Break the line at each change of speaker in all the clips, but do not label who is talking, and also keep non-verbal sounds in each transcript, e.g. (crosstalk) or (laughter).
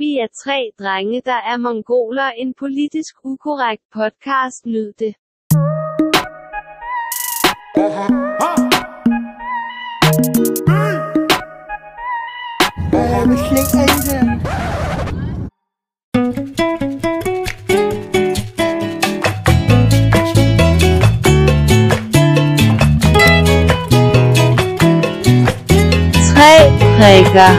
Vi er tre drenge, der er mongoler. En politisk ukorrekt podcast. Nyd det.
Jeg vil slet ikke ind her.
Tre prikker.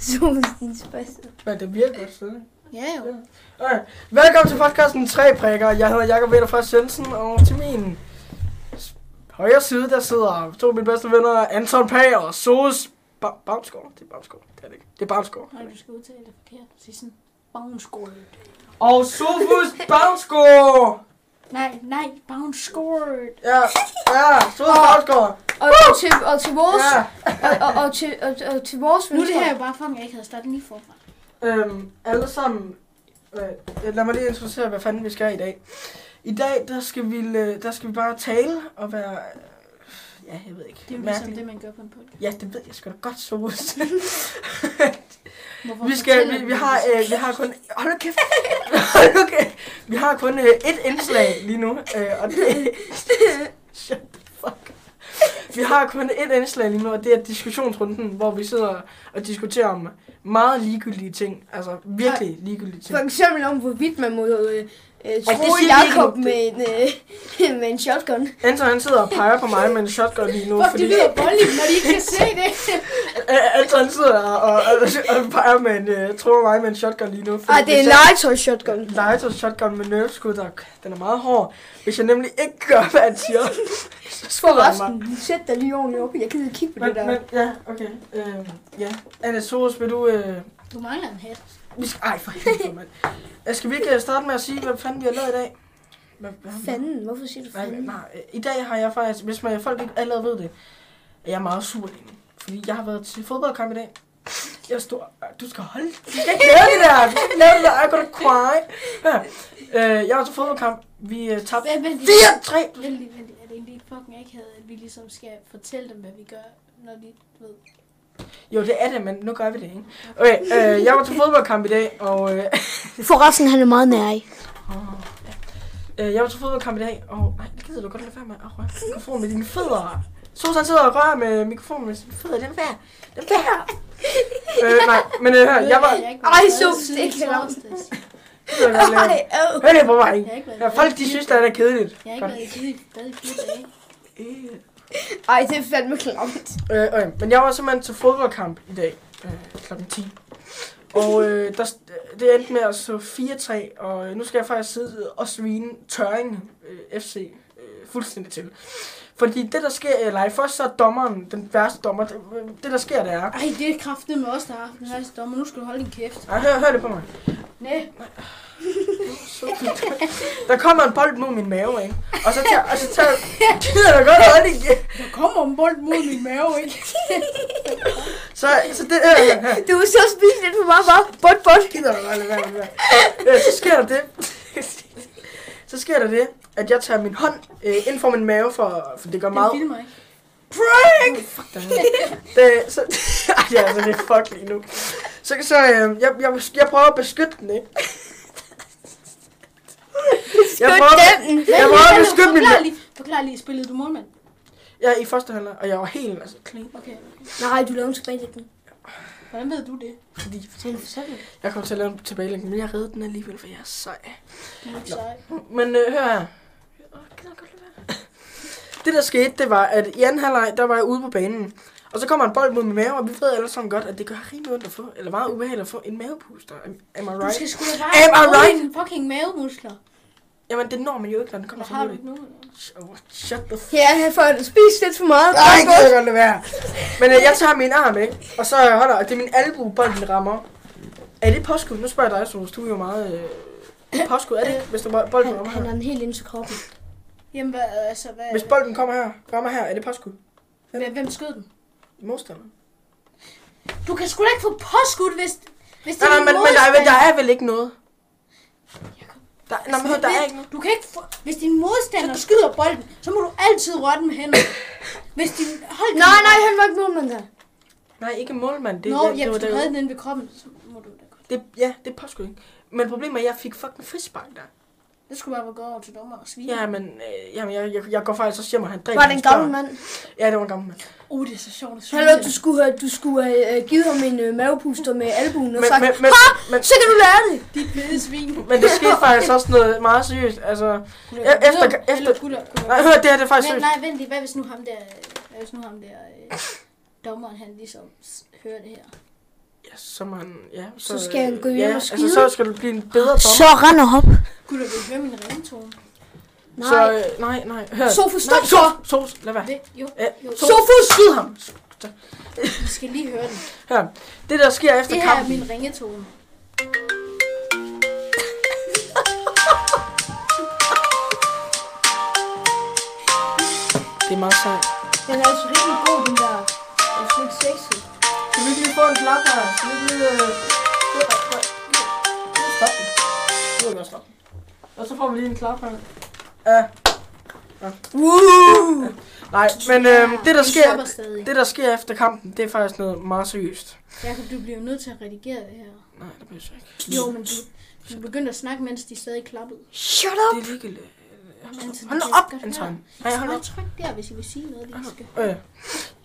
Zoom din spidser.
Men det virker godt sådan.
Ja jo.
Okay. Velkommen til podcasten Tre Prikker. Jeg hedder Jakob Vedder fra Sønsen, og til min s- højre side, der sidder to af mine bedste venner, Anton Pag og Sos ba- Bamsgaard. Det er Bamsgaard. Det er det ikke. Det er Bamsgaard.
Nej, du skal udtale det forkert. Sige sådan, bounce
Og Sofus Bamsgaard!
Nej, nej, bounce scored.
Ja, ja, Sofus Bamsgaard.
Og, og, til, og til vores,
Ja.
og, og, og, til, og, og til vores
Nu er det
venstre-
her jo bare for, at jeg ikke havde startet lige forfra.
Øhm, alle sammen, øh, lad mig lige introducere, hvad fanden vi skal i dag. I dag, der skal vi, øh, der skal vi bare tale og være, øh, ja, jeg ved ikke,
Det er jo ligesom
mærkelige.
det, man gør på en podcast.
Ja, det ved jeg sgu da godt,
(laughs)
Sofus.
Hvorfor
vi skal,
fortæller
vi,
du
vi
det,
har,
hvis-
øh, vi har kun, hold nu kæft, hold nu kæft. Vi har kun øh, et indslag lige nu, øh, og det Shut the fuck. up. Vi har kun et indslag lige nu, og det er diskussionsrunden, hvor vi sidder og diskuterer om meget ligegyldige ting. Altså virkelig ligegyldige ting.
For eksempel om, hvorvidt man må øh, øh, true
siger vi
Jakob
ikke.
med, en, øh, (laughs) med en shotgun.
Anton han sidder og peger på mig med en shotgun lige nu,
Fuck, det
fordi
lyder voldeligt, når de ikke kan se det.
Æ, Anton sidder og, og, og, og peger med en, øh, tror mig med en shotgun lige nu. fordi
Ej, det
hvis
er en
jeg-
legetøj shotgun.
Legetøjs shotgun med nerveskud, der, den er meget hård. Hvis jeg nemlig ikke gør, hvad han siger, så
For
skyder han mig.
resten, sæt dig lige ordentligt op. Jeg gider kigge på det
Men,
der.
men, ja, okay. Øh, ja. Anna Soros, vil du... Øh,
Du mangler en hat.
vi skal, ej, for helvede, mand. Øh, Skal vi ikke øh, starte med at sige, hvad fanden vi har lavet i dag? Hvad, hvad,
Fanden, hvorfor siger du
Nej, nej,
fanden?
nej. øh, I dag har jeg faktisk, hvis man, folk ikke allerede ved det, at jeg er meget sur lige nu. Fordi jeg har været til fodboldkamp i dag. Jeg står, du skal holde, du skal ikke lave det der, du skal ikke lave det der, I'm gonna cry. Ja. Øh, jeg var til fodboldkamp, vi øh, tabte
Vent, vent lige.
4-3.
Vent lige, vent lige. Er det egentlig ikke fucking akavet, at vi ligesom skal fortælle dem, hvad vi gør, når de ved?
Jo, det er det, men nu gør vi det, ikke? Okay, øh, jeg var til fodboldkamp i dag, og øh, (laughs)
For resten, han er meget nær i.
øh, jeg var til fodboldkamp i dag, og nej, det gider du godt lade være med at røre mikrofonen med dine fødder. Susan sidder og rører med mikrofonen med sine fødder, den vær, den vær. øh, nej, men øh, hør, jeg var...
Jeg har ikke
Ej,
været
så
glad siden
ikke
i
heller.
torsdags.
Det vil jeg godt lave.
Ej, øh.
Hør lige på mig.
Jeg har ikke været
Ja, folk de synes, det er kedeligt.
Jeg har ikke været i bad i- bad i fire dage.
Øh,
Ej, det er fandme klamt.
øh, men jeg var simpelthen til fodboldkamp i dag øh, klokken 10. Og øh, der, det endte med at så 4-3, og øh, nu skal jeg faktisk sidde og svine Tøring øh, FC øh, fuldstændig til. Fordi det, der sker, eller øh, først så er dommeren, den værste dommer, det, øh, det der sker, det er...
Ej, det er kraftet med os, der har haft den her dommer. Nu skal du holde din kæft.
Ej, hør, hør det på mig.
Næ.
(laughs) Der kommer en bold mod min mave, ikke? Og så tager... Og så tager gider du godt holde igen?
Der kommer en bold mod min mave, ikke?
Så, så det... Øh, øh,
Du er så spist lidt for meget, bare bot, bot.
gider du bare lade være med det der. Øh, så sker der det. (laughs) så sker der det, at jeg tager min hånd øh, ind for min mave, for, for det gør
Den
meget...
filmer ikke.
Prank! Oh, fuck dig. (laughs) det, Øh, så, (laughs) Ej, ja, altså, det er fuck lige nu. Så, så øh, jeg, jeg, jeg prøver at beskytte den, ikke? Jeg prøver,
den.
jeg prøver at beskytte min...
Forklar lige, forklar lige, spillede du målmand?
Jeg er i første halvleg, og jeg var helt altså, clean,
Okay,
Nej, du lavede en tilbagelægning.
hvordan ved du det?
fordi
Han fortalte det.
jeg kom til at lave en tilbagelægning, men jeg reddede den alligevel, for jeg er sej.
Du er ikke sej.
Men øh, hør her. Det der skete, det var, at i anden halvleg, der var jeg ude på banen. Og så kommer en bold mod min mave, og vi ved alle sammen godt, at det gør rimelig ondt at få, eller meget ubehageligt at få en mavepuster. Am, am I
Du
right?
skal sgu da bare
Am I
bruge
right?
dine fucking mavemuskler.
Jamen, det når man jo ikke, når den kommer
Hvad
så
har du
hurtigt.
nu? eller?
Oh, shut the f***.
Ja, jeg får spist lidt for meget.
Nej, det kan jeg godt lade være. Men øh, jeg tager min arm, ikke? Og så øh, holder, og det er min albue, bolden rammer. Er det påskud? Nu spørger jeg dig, Sols. Du er jo meget... Øh, påskud er det ikke, hvis du bolden
Han,
rammer
han
her?
har den helt ind til kroppen.
Jamen, hvad, altså, hvad,
Hvis bolden kommer her, rammer her, er det påskud?
hvem, hvem skød den?
Modstander.
Du kan sgu da ikke få påskudt, hvis, hvis det
Nej,
er
nej,
din
men, men der, er, vel-
modstander.
der er vel ikke noget? Der, nej, men hør, der er ikke noget.
Du kan ikke få, hvis din modstander skyder bolden, så må du altid røre den med hænderne. Hvis din hold
Nej, nej, han var ikke nogen, man der.
Nej, ikke målmand. Det,
Nå,
det,
ja,
det,
hvis
var
du havde
det,
den inde ved kroppen, så må du da godt.
det, ja, det er påskud, ikke? Men problemet er, at jeg fik fucking frispark der.
Det skulle bare være gået over til dommer og svine.
Ja, men øh, jamen, jeg, jeg, jeg går faktisk også hjem, og han dræber
Var det
hans
en gammel
børn.
mand?
Ja, det var en gammel mand.
Uh, det er så sjovt at svine.
Hallo, du skulle have, du skulle have øh, givet ham en øh, mavepuster med albuen og
Men,
sagt,
men, men, men,
så kan du lære det.
Dit pæde svin.
men det skete faktisk også noget meget seriøst. Altså, E- efter- efter-
Hallo, gutter, gutter.
nej, hør, det her det er faktisk
Men
seriøst.
nej, vent lige. Hvad hvis nu ham der, øh, hvad hvis nu ham der øh, dommeren, han ligesom s- hører det her?
Ja, så man, ja,
Så skal han gå
øh,
hjem
ja,
og
altså,
skide. Ah,
så skal du blive en bedre dommer.
Så render hop.
Gutter, vil I høre min ringetone?
Så, øh, nej, nej, hør.
Sofus, stop
så. Sofus, lad være.
Vil- Jo,
Ja,
jo.
Sofus, skyd ham.
I skal lige høre den.
Hør, det der sker efter
Det her er
kampen.
min ringetone.
Det er meget sejt.
Den er altså rigtig god, den der. Den er lidt sexy.
Skal vi ikke lige få en klap her? Skal vi ikke lige... øh, øh, øh, øh, Stop den. Nu vil jeg stoppe den. Og så får vi lige en klap her. Ja.
Woo!
Nej, men øhm, det, der
Vi
sker,
stopper stadig.
det, der sker efter kampen, det er faktisk noget meget seriøst.
Jakob, du bliver jo nødt til at redigere det her.
Nej, det bliver så ikke.
Jo, men du, du begyndte at snakke, mens de stadig klappede.
Shut
Det er ligegyldigt.
Anton,
Hold nu
det kan
op,
jeg godt
Anton.
høre.
Nej, hold
Hold
nu
op. Tryk der, hvis I vil sige noget, lige skal.
Øh,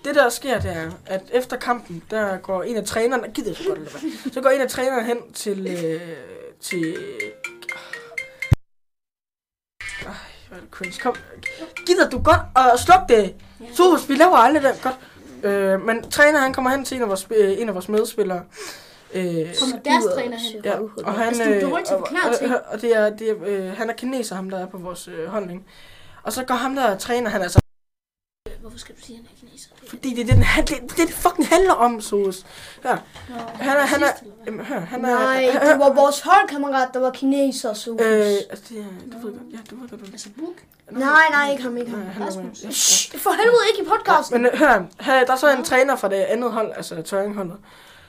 det der sker, det er, at efter kampen, der går en af trænerne, gider jeg så godt lade være. så går en af trænerne hen til, øh, til, Ej, hvor er det cringe. Kom, gider du godt at slukke det? Sofus, vi laver aldrig det. Godt. Øh, men træner, han kommer hen til en af vores, øh, en af vores medspillere. Øh,
Kommer deres træner hen.
Ja, og han,
Altså, du er
øh,
dårlig til at
og,
forklare ting.
og, og det er, det er, øh, han er kineser, ham der er på vores øh, holdning. Og så går ham der og træner, han er altså,
Hvorfor skal du sige, at han er kineser?
fordi det er det, den, han, det, det, er det fucking handler om, Sos. Hør,
Nå,
han er, han er,
racist, eller hvad?
jamen, hør, han er,
Nej, det var vores holdkammerat, der var kineser, så.
øh, altså, det er, du ved godt, ja, du ved godt, hvad det
Altså, Buk.
er.
Nej, nej, ikke ham, ikke ham.
Nej, han er,
Rasmus.
ja.
Shh, for helvede ikke i podcasten.
Men øh, hør, her, der er så en træner fra det andet hold, altså Tøringholdet.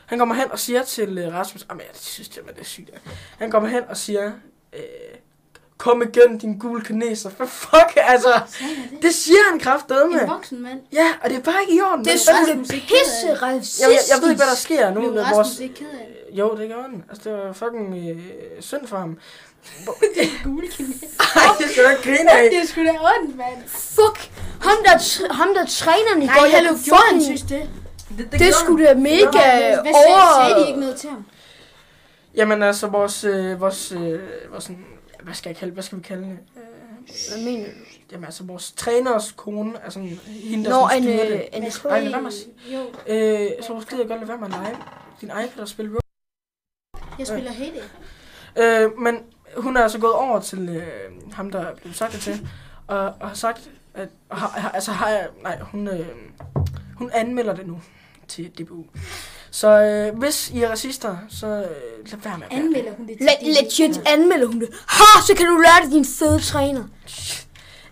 Han kommer hen og siger til øh, Rasmus, jamen jeg synes, det er det er sygt. ja." Han kommer hen og siger, øh, kom igen, din gule kineser. For fuck, altså,
Sagde han det?
det siger han kraftedeme.
En voksen mand.
Ja, og det er bare ikke i orden.
Det er
vel?
sgu
jeg,
lidt Altså, pisse racistisk.
jeg, jeg ved ikke, hvad der sker nu
Blev
med vores...
Rasmus ikke ked af det?
Jo, det gør han. Altså, det var fucking øh, synd for ham.
Gule kineser.
(laughs) Ej, (laughs) det skal du ikke grine af.
Det er sgu da ondt, mand.
Fuck, ham der, tr- ham der træneren i
Nej,
går, jeg
hallo,
kunne
gjorde han
fucking-
synes det?
Det skulle da mega
Øh,
Hvad
over...
sagde, sagde de ikke noget til ham?
(laughs) Jamen altså, vores... Øh, vores, øh, vores sådan, hvad skal jeg kalde Hvad skal vi kalde det?
Hvad mener du?
Jamen altså, vores træners kone, altså hende, der
Nå,
sådan
en,
styrer
øh,
det.
en
Hvad
Ej,
sagde
lad mig
I?
sige.
Jo,
Øh, så måske jeg godt lade være med at lege din iPad og spille Rogue.
jeg spiller Heyday.
Øh, men hun er altså gået over til øh, ham, der blev sagt det til, og, og har sagt, at... Og har, har- altså har jeg... Nej, hun, øh, hun anmelder det nu til DBU. Så øh, hvis I er racister, så øh, lad være med at være det.
Anmelder hun det til
Le-
din-
legit anmelder hun det. Ha, så kan du lære det, din fede træner.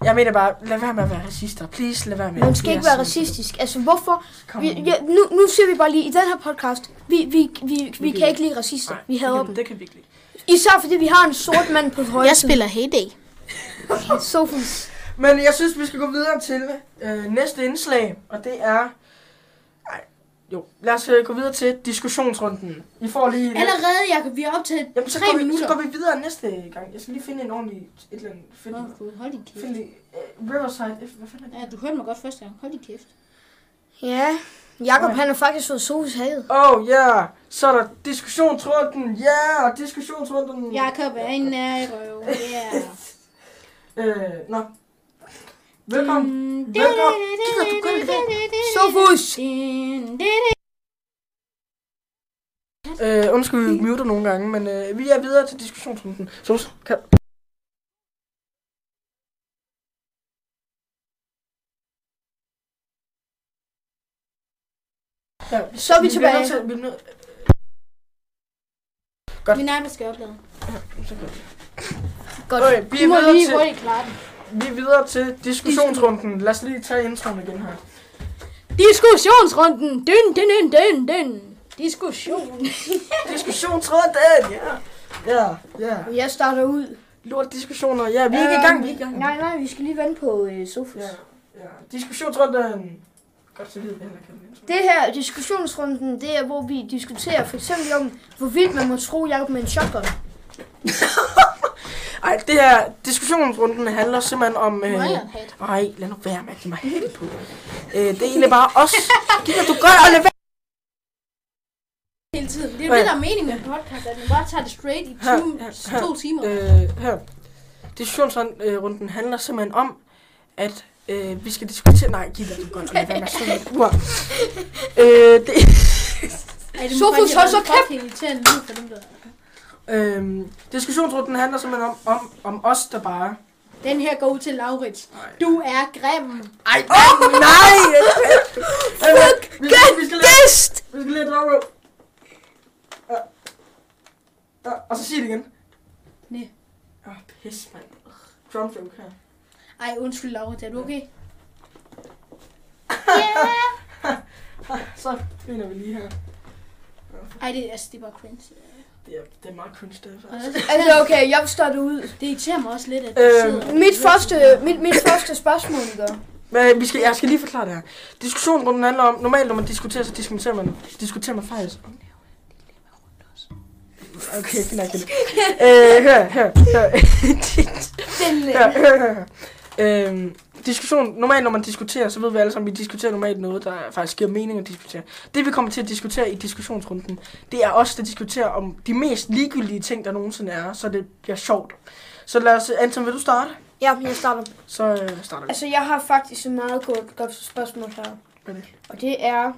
Jeg mener bare, lad være med at være racister. Please, lad være med.
Man skal ikke
Jeg
være
er sådan-
racistisk. Altså, hvorfor?
Kom
Vi,
nu.
ja, nu, nu siger vi bare lige, i den her podcast, vi, vi, vi, vi kan ikke lide racister.
Nej,
Vi hader
det
dem.
kan, det kan vi ikke lide.
Især fordi vi har en sort mand på højre
Jeg spiller Heyday.
side. Sofus.
Men jeg synes, vi skal gå videre til øh, næste indslag, og det er... Ej, jo. Lad os øh, gå videre til diskussionsrunden. I får lige... en-
Allerede, Jacob, vi har optaget
Jamen, så
tre
går, vi,
minutter.
så går vi videre næste gang. Jeg skal lige finde en ordentlig... Et eller andet... Find,
Nå, Gud, hold din kæft.
find lige, øh, Riverside... F, hvad fanden er det?
Ja, du hørte mig godt første gang. Hold din kæft.
Mm.
Ja, Jakob han har faktisk fået Sofus havet.
Oh, yeah! Så er der diskussionsrunden! Ja, yeah, diskussionsrunden!
Jakob er en nærrøv. Ja.
Øh, nå. (laughs) Velkommen.
Mm,
Velkommen. Gider du godt lade være?
Sofus!
Øh, undskyld, vi muter nogle gange, men øh, vi er videre til diskussionsrunden. Sus, kan... Ja,
Så er vi
bliver
tilbage.
nødt til- vi er nødt-
Vi nærmest skal oplade.
så godt.
Godt.
Okay, vi
Vi
er,
må
videre
lige
til,
hurtigt klare den.
vi er videre til diskussionsrunden. Lad os lige tage introen igen her.
Diskussionsrunden. Dyn, dyn, dyn, dyn, dyn.
Diskussion.
Diskussionsrunden, ja. Ja, ja.
Og (laughs) jeg starter ud.
Lort diskussioner. Ja, vi er ikke i gang, Øhm, vi er ikke i gang.
Nej, nej, vi skal lige vende på øh, Sofus.
Ja, ja. Diskussionsrunden. Godt, så ved jeg heller ikke, hvad den intro.
Det her diskussionsrunden, det er, hvor vi diskuterer for eksempel om, hvorvidt man må tro Jacob med en shotgun.
Ej, det her diskussionsrunden handler simpelthen om... Øh,
Iron Head.
ej, lad nu være med at give mig helt på. øh, det er egentlig bare (laughs) os. Gider du godt at lade være?
Hele tiden. Det er jo det, der er meningen med podcast, at man bare tager det straight i
Her,
to,
her, her.
to timer.
Øh, her. Diskussionsrunden handler simpelthen om, at øh, vi skal diskutere... Nej, gider du godt at lade være med at slå mit ur. øh,
Ej, det
det,
må
Sofus,
faktisk
hold så
være
kæft!
fucking irriterende lyd for dem der.
øh, diskussionsrunden handler simpelthen om, om, om os, der bare...
Den her går ud til Laurits. Du er grim.
Ej, oh, nej! Fuck, vi skal lade-
Bedst!
Vi skal lige drage Ja. Ja, Øh, og så sig det igen.
Næ.
Åh, oh, pis, mand. Drum joke her.
Ej, undskyld Laurits, er du okay?
Så finder vi lige her.
Ej, det, altså, det er bare cringe.
Det er, det er meget cringe, det her.
Og
faktisk.
også-
Altså, okay, jeg starter ud.
Det irriterer mig også lidt, at
Øhm,
Øh, Mit første, mit, mit første spørgsmål, gør.
Men vi skal, jeg skal lige forklare det her. Diskussionsrunden handler om, normalt når man diskuterer, så diskuterer man, diskuterer man faktisk. Okay, fint nok. fint nok. Øh, hør, hør, hør.
Den, øh,
Ja, hør, hør, hør. Øhm, diskussion, normalt når man diskuterer, så ved vi alle sammen, at vi diskuterer normalt noget, der faktisk giver mening at diskutere. Det vi kommer til at diskutere i diskussionsrunden, det er os, der diskuterer om de mest ligegyldige ting, der nogensinde er, så det bliver sjovt. Så lad os, Anton, vil du starte?
ja, jeg starter.
Så øh, starter vi.
Altså, jeg har faktisk et meget godt, godt spørgsmål her.
Hvad er det?
Og det er,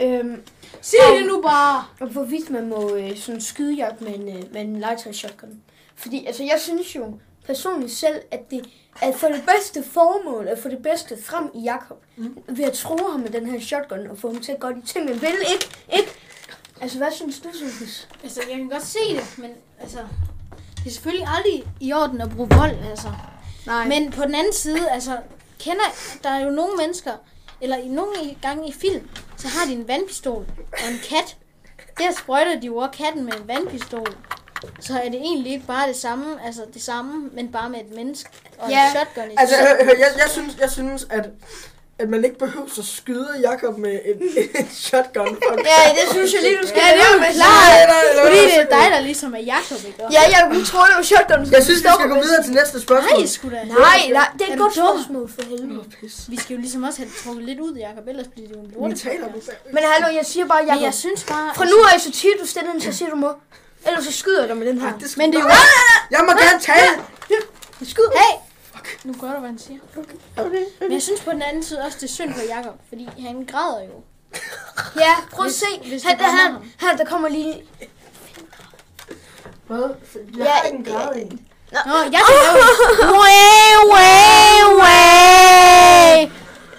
øhm,
Sig det nu bare!
om hvorvidt man må øh, sådan skyde jagt med en, øh, med en legetøj shotgun. Fordi altså, jeg synes jo personligt selv, at det at for det bedste formål, at få det bedste frem i Jakob, mm. ved at tro ham med den her shotgun, og få ham til at gøre de ting, man vil, ikke? ikke? Altså, hvad synes du, Sofus?
Altså, jeg kan godt se det, men altså... Det er selvfølgelig aldrig i orden at bruge vold, altså.
Nej. Men,
Men på den anden side, altså, kender, der er jo nogle mennesker, eller i nogle i- gange i film, så har de en vandpistol og en kat. Der sprøjter de jo også katten med en vandpistol. Så er det egentlig ikke bare det samme, altså det samme, men bare med et menneske og
Ja,
en shotgun i
Altså,
stedet.
hør, hør, jeg, jeg, synes, jeg synes, at, at man ikke behøver at skyde Jakob med en, en shotgun.
ja, det synes jeg lige, du skal
Ja, det er jo
lade være med.
klart,
Nej, nej, nej,
fordi
nej.
det er dig, der ligesom er Jacob, ikke?
Ja, jeg kunne tro, det var shotgun.
Jeg synes, vi skal gå videre til næste spørgsmål.
Nej, sgu da.
Nej, nej, det er
Er
et
du
godt
dum?
spørgsmål for helvede.
Åh, pis.
Vi skal jo ligesom også have det trukket lidt ud, Jacob, ellers bliver det jo en
Vi
lortet.
taler nu.
Men hallo, jeg siger bare,
Men
Jacob.
jeg synes bare...
Fra nu af, så tiger du stille ind, så siger du må. Ellers så skyder jeg dig med den her.
Ja, det skal-
Men det er jo...
Jeg må gerne tale!
Skyd. Hey!
Nu gør du, hvad han siger. Men jeg synes på den anden side også, det er synd for Jakob, fordi han græder jo.
Ja, prøv at
Hvis-
se.
hvis
her,
du
der, her,
rammer
her, der kommer lige...
Hvad? Jeg
Ja,
har ikke en grad i.
Nå, jeg kan lave det.
(laughs) Way, way, way!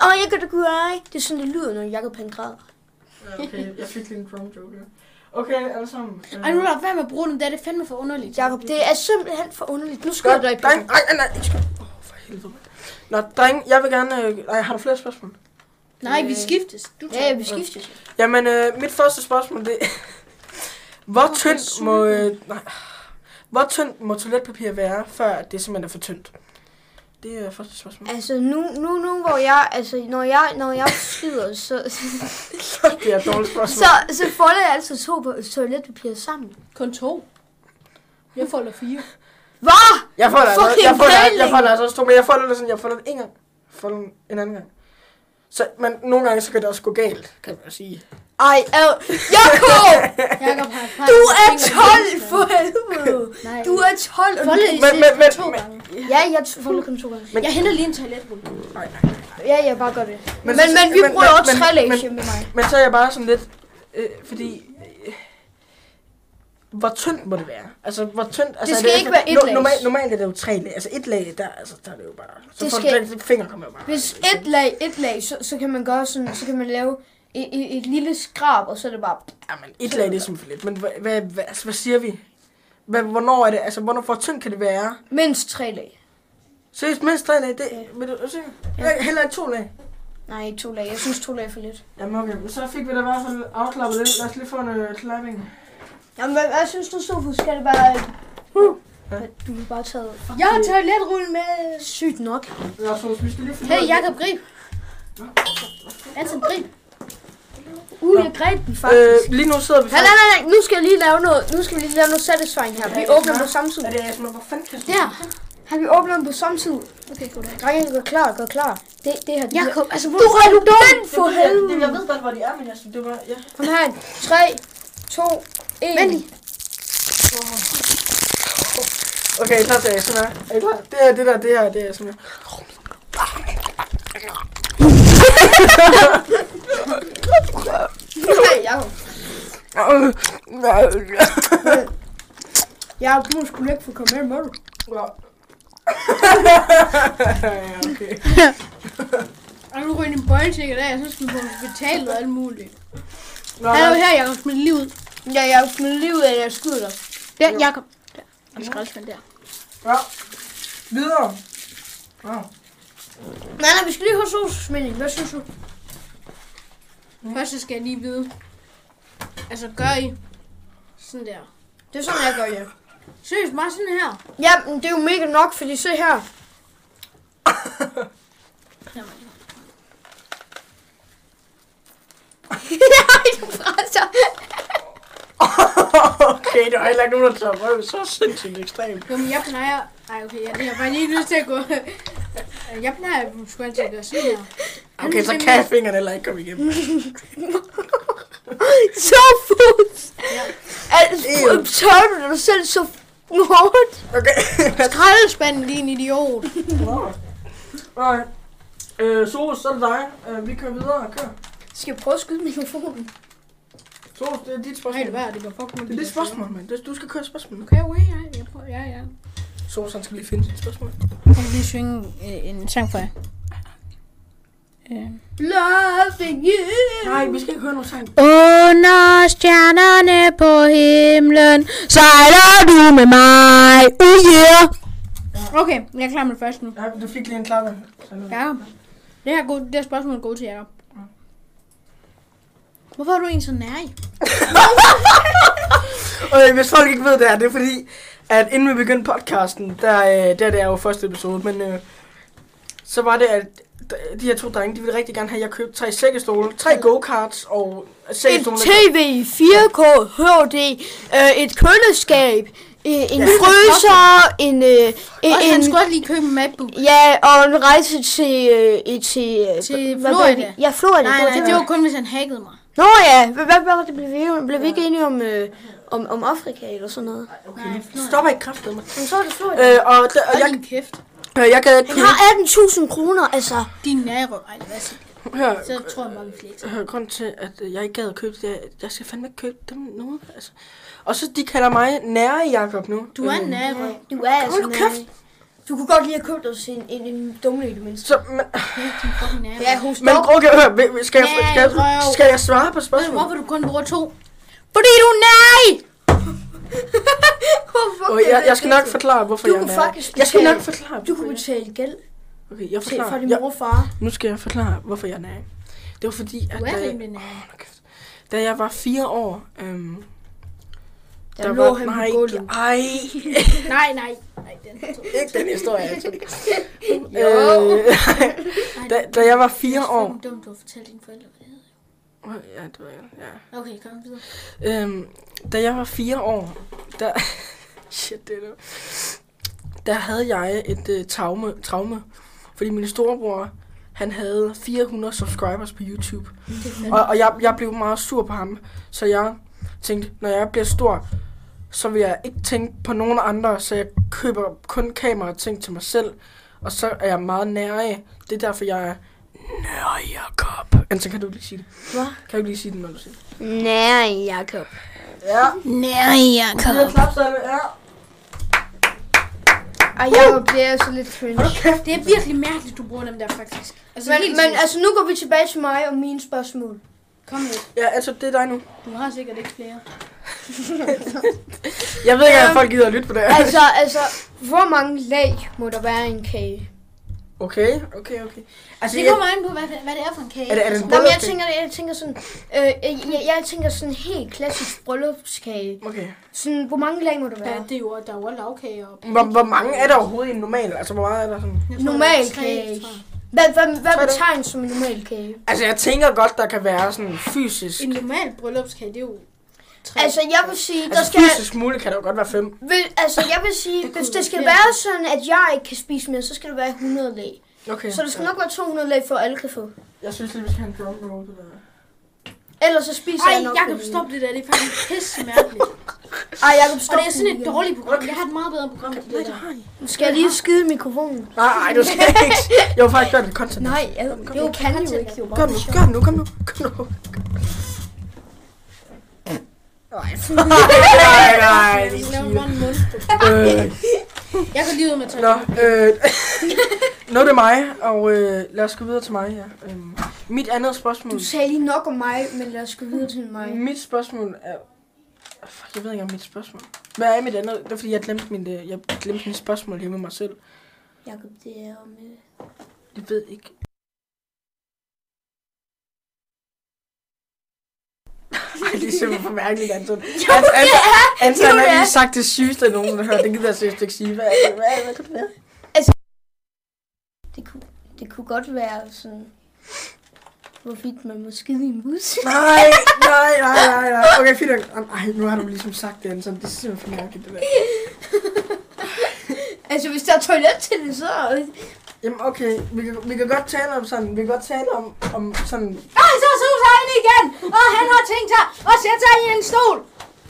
Åh, jeg kan da kunne ej. Det er sådan, det lyder, når Jacob han græder.
Okay, jeg fik lige en crumb joke her. Okay, alle sammen. øh,
Ej, nu lader være med at bruge den der, det er fandme for underligt.
Jacob, det er simpelthen for underligt. Nu skyder
Godt,
du dig i
dreng. Ej, nej, nej, ikke skal. Åh, for helvede. mand. Nå, dreng, jeg vil gerne... øh, Ej, har du flere spørgsmål?
Nej, vi skiftes. Du
Ja,
tager.
vi skiftes.
Jamen, øh, mit første spørgsmål, det... Hvor tyndt må... Øh, nej. Hvor tyndt må toiletpapir være, før det simpelthen er for tyndt? Det er første spørgsmål.
Altså, nu, nu, nu, hvor jeg, altså, når jeg, når jeg skyder, så,
(laughs)
Det er et dårligt spørgsmål.
så, så folder jeg altid to på- toiletpapir sammen.
Kun to. Jeg folder fire.
Hvad?
Jeg får det altså,
Fucking
jeg får det,
pæling.
jeg får det altså også to, men jeg får det sådan, jeg får det en gang. Jeg får det en anden gang. Så, men nogle gange, så kan det også gå galt, kan man sige.
Ej, ad.
(laughs)
Jakob!
(laughs) Jakob har erfaring.
Du
med
er
fingre.
12, for helvede!
Nej,
Du er 12, og du
foldet i
Men-
men,
men- men-
to
men-
gange.
Ja, jeg folder kun to gange.
men-
Jeg henter lige en toiletrulle.
Nej, nej.
Ja, jeg bare gør det.
Men
Men,
så-
men, men vi
men-
bruger
men-
også
men-
tre
men-
læge med mig.
Men så er jeg bare sådan lidt, øh, fordi... Øh, hvor tyndt må det være? Altså, hvor tyndt... Altså,
skal
er
ikke være et
no,
lag.
Normalt, normalt er det jo tre lag. Altså, et lag, der, altså, der er det jo bare... Så
Det
får
skal-
skal... finger kommer jo bare... Altså,
Hvis et lag, et lag, så, så kan man gøre sådan, så kan man lave et, et, et lille skrab, og så er det bare...
Jamen, et lag det er simpelthen for lidt. Men hvad, hvad, hvad, altså, hvad siger vi? Hvad, hvornår er det? Altså, hvornår for tynd kan det være?
Mindst tre lag.
Seriøst, mindst tre lag. Det,
Ja.
vil du, er du sikker? Ja. Heller ikke to lag.
Nej, to lag. Jeg synes, to lag er for lidt.
Jamen, okay. men Så fik vi da i hvert fald afklappet lidt. Lad os lige få en øh, klapping.
Jamen, hvad, hvad synes du, Sofus? Skal det bare... Uh, du har bare taget...
Jeg har toiletrullen med.
Sygt nok.
Lad os få, vi skal lige finde
Hey,
ud af-
Jakob Grib. Anton Grib.
Uh, jeg greb den
Øh,
faktisk.
lige nu sidder vi
Nej, nej, nej, nej, nu skal jeg lige lave noget, nu skal vi lige lave noget satisfying her. Vi åbner dem på samme tid.
Er det ASMR? Hvor fanden kan du?
Der.
Har vi åbnet dem på samme tid?
Okay, goddag.
Drenge, gør klar, gør klar. Det, det her, det her.
Jakob, altså hvor
Du er du dum for
Det ved jeg- det-
helvede.
Jeg ved godt, hvor de er, men jeg synes, det var... Ja.
Kom her. 3, 2, 1.
Vent lige.
Okay, klar til ASMR. Er I klar? Det er det der, det her, det er ASMR.
Nej, Jakob. Jakob, du må sgu ikke få komme med, må du?
Ja. ja, okay.
Og nu ryger din bøjlesikker der, jeg synes, du på hospitalet og alt muligt.
Nå,
Han er jo
lad-
her, Jakob, smid lige ud.
Ja, jeg har smidt livet af, at jeg skyder dig.
Der, Jakob. Der. Og skraldespand der.
ja. Videre. Ja.
Nej, nej, vi skal lige høre Sosus mening. Hvad synes du?
Først så skal jeg lige vide. Altså, gør I sådan der.
Det er sådan, jeg gør, ja.
Seriøst, bare sådan her.
Ja, men det er jo mega nok, fordi se (laughs) her. Nej, du presser.
okay, der var heller ikke nogen, der tager røv. Så sindssygt ekstremt.
Jo, men jeg plejer... Ej, okay, jeg, jeg har bare lige lyst til at gå... Jeg plejer sgu altid at gøre sådan her.
Okay, så kan fingrene heller ikke komme
Mm.
igennem.
Sofus!
Ja.
Al- Tør du dig selv så hårdt?
Okay.
Skraldespanden, din idiot.
Okay. Øh, Soros, så er det dig. Øh, vi kører videre og kører.
Skal jeg prøve at skyde mikrofonen?
Soros, det er dit
Nej,
spørgsmål.
det var det var fucking
Det er dit spørgsmål, mand. Det- Du skal køre et spørgsmål.
Okay, okay, ja, jeg prøver, ja, ja.
Soros, han skal lige finde sit spørgsmål.
Jeg kan lige synge øh, en sang for jer. Øh.
Loving you.
Nej, vi skal ikke høre noget sang.
Under stjernerne på himlen sejler du med mig. Oh yeah. Okay, jeg er klar med det første nu.
Ja, du fik lige en klappe. Ja.
Jakob, det her, gode, det her spørgsmål er godt til Jakob. Hvorfor er du en så nær i?
Okay, hvis folk ikke ved det her, det er fordi, at inden vi begyndte podcasten, der, øh, der det er jo første episode, men øh, så var det, at d- de her to drenge, de ville rigtig gerne have, at jeg købte tre sækkestole, tre go-karts og
Et
sækkestole.
tv, 4K, HD, øh, et køleskab, øh, en fryser, en, øh, en,
Også han
en,
skulle også lige købe en MacBook.
ja, og en rejse til, øh, i- til, øh,
Til
hvad var
Florida.
det? Ja, Florida.
Nej,
det var
nej,
det.
det var kun, hvis han hackede mig.
Nå ja, hvad, hvad var det, blev vi, blev vi ikke enige om, øh, om, om Afrika eller sådan noget?
Nej, Florida.
Stopper ikke kraftet mig.
Men så var det Florida.
Øh, og, d- og
Hold
jeg,
din kæft.
øh, jeg gad ikke
Han har 18.000 kroner, altså.
Din nærrøv. Ej, hvad siger jeg?
købe. Hør,
Så tror jeg bare, vi flexer.
hør, grunden til, at øh, jeg ikke gad at købe det, er, at jeg skal fandme ikke købe dem nu. Altså. Og så de kalder mig nære Jakob nu. Øh.
Du er en nærrøv.
Du er altså
Hold nu kæft.
Du kunne godt lige have købt os en, en, en dumle i det mindste.
Så, men,
Din fucking nærrøv.
Ja, hos
men okay, hør, vi- skal jeg, skal, jeg,
Nærerøv.
skal jeg svare på
Ved du,
spørgsmålet?
hvorfor du kun bruger to?
Fordi du er nej! (laughs) Hvorfor
Og
kan
jeg,
du
jeg skal
ikke
nok
det?
forklare, hvorfor
Du
jeg er
kunne
nær.
faktisk
Jeg skal
betale-
nok forklare.
Du kunne
hvorfor
betale gæld
jeg- Okay, jeg
til, fra
forklarer.
din
Jeg,
mor og far.
nu skal jeg forklare, hvorfor jeg er nær. Det var fordi, at
Du er
da,
rimelig nær.
Hold nu kæft. da jeg var fire år, øhm,
Der, lå
var,
han på
nej,
gulvet.
ej,
Nej, nej. Nej, den er to.
ikke den historie. Altså.
(laughs)
(laughs) øh,
Ej,
da, da jeg var fire
Det er
år,
fucking dumt, du har fortalt dine forældre, hvad det hedder.
Åh, ja, det var jeg, ja.
Okay, kom videre.
Øhm, da jeg var fire år, der... (laughs) Shit, det er det. Der havde jeg et øh, traume, traume, fordi min storebror, han havde 400 subscribers på YouTube. Og, og jeg, jeg blev meget sur på ham, så jeg tænkte, når jeg bliver stor, så vil jeg ikke tænke på nogen andre, så jeg køber kun kamera og ting til mig selv. Og så er jeg meget nær af. Det er derfor, jeg er nær Jacob. Altså, kan du ikke lige sige det?
Hvad?
Kan du ikke lige sige det, når du siger det?
Nej, Jakob.
Ja.
Nej, Jakob.
Jeg klapsalve er...
Ej, Jakob, det er så lidt cringe.
Det er virkelig mærkeligt, du bruger dem der, faktisk. Altså,
Men,
helt
men
seriøst.
altså, nu går vi tilbage til mig og mine spørgsmål.
Kom nu.
Ja, altså, det er dig nu.
Du har sikkert ikke flere.
Jeg ved ikke, om
Øhm,
folk gider at lytte på det.
altså, altså, hvor mange lag må der være i en kage?
Okay, okay, okay. Altså,
Det
jeg,
kommer an på, hvad det, hvad det er for en kage.
er det, er det en
Nå, men jeg
bryllupskage?
tænker, jeg tænker sådan, øh, jeg, jeg tænker sådan en helt klassisk bryllupskage.
Okay.
Sådan, hvor mange lag må der
Ja,
være?
det er jo, der er jo også lavkager. og-
Hvor, hvor mange er der overhovedet i en normal? Altså, hvor meget er der sådan?
Jeg tror,
Normal
der er tre,
kage.
tror jeg.
Hvad, hvad,
Tror
hvad
du?
betegnes som en normal kage?
Altså, jeg tænker godt, der kan være sådan fysisk...
En normal bryllupskage, det er jo tre.
Altså, jeg vil sige, der
Altså,
skal...
fysisk muligt kan der jo godt være fem.
Vil, altså, jeg vil sige,
Det kunne
hvis
være
det skal
flere.
være sådan, at jeg ikke kan spise mere, så skal det være 100 lag.
Okay.
Så der skal nok være 200 lag, for at alle kan få.
Jeg synes lige, vi skal have en drum roll. det der.
Ellers så spiser
Ej,
jeg nok...
Jacob,
den.
stop det der. Det er faktisk pisse mærkeligt.
Ej, Jacob,
Og
stop.
det er sådan
den
et
igen.
dårligt program. Jeg har et meget bedre program til det der.
Skal jeg lige skide mikrofonen?
Nej, nej, du skal ikke. Jeg vil faktisk gøre det content.
Nej, jeg,
jo
det kan jo
content.
ikke. Jo,
Gør det nu, gør det nu, kom nu, kom nu. Nej, (laughs) nej, nej,
Jeg
det er
skal lave en
sygt.
one mund.
Øh,
Jeg går lige ud med tøj.
Nå, øh, (laughs) nu er det mig, og øh, lad os gå videre til mig. Ja. Øhm, mit andet spørgsmål...
Du sagde lige nok om mig, men lad os gå videre til mig.
Mit spørgsmål er... Fuck, jeg ved ikke om mit spørgsmål. Hvad er mit andet? Det er fordi, jeg glemte, min, øh, jeg glemte mit spørgsmål hjemme med mig selv.
Jakob, det er om... øh,
Jeg ved ikke. (laughs) Ej, det er simpelthen for mærkeligt, Anton. Anton, Anton, Anton
Jo, det
har
er.
lige sagt det sygeste, jeg nogensinde har hørt. Det gider jeg seriøst ikke sige. Hvad, hvad, hvad, hvad kan det være?
Det kunne, det kunne godt være sådan... Hvorvidt man må skide i en bus. (laughs)
Nej, nej, nej, nej, nej. Okay, fint. nok. Am, Ej, nu har du ligesom sagt det, Anton. Det er simpelthen for mærkeligt, det der.
altså, hvis der er toilet til det, så...
Jamen, okay. Vi kan, vi kan godt tale om sådan. Vi kan godt tale om, om sådan...
Ej, så sus han igen! Og han har tænkt sig at sætte sig i en stol!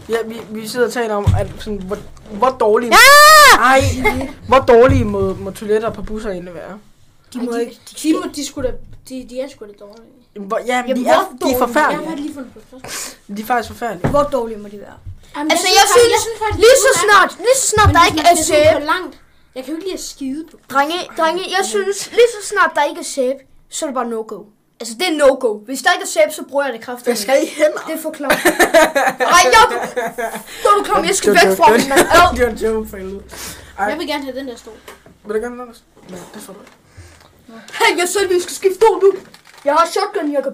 Ja, vi, vi sidder og taler om, at sådan, hvor, hvor dårlige... Ej, hvor dårlige må, må toiletter på busser egentlig være?
De må ikke... De, må, de, skulle da, de, de er sgu da dårlige.
Jamen, Hvor, ja,
Jamen,
de
hvor
er, de
dårlige?
er
Jeg har
forfærdelige.
lige fundet på det.
De er faktisk forfærdelige.
Hvor dårligt må det være?
Jamen,
Altså, jeg synes, lige så snart, lige så snart der ikke er sæbe,
på langt. Jeg kan jo ikke lide at skide på.
drenge, drenge, jeg synes, lige så snart der ikke er sæbe, så er det bare no-go. Altså, det er no-go. Hvis der ikke er sæbe, så bruger jeg det kraftigt.
Hvad skal I hen?
Det er for klamt. (laughs) Ej, jeg, du, du kom, jeg skal
Det var
væk
joke,
fra
det var joke.
den. mand. Au.
Det var en joke for helvede.
Jeg vil gerne have den der stol.
Vil du gerne noget? Nej, det får du ikke.
Hey, jeg sagde, vi skal skifte stol nu. Jeg har shotgun, Jacob.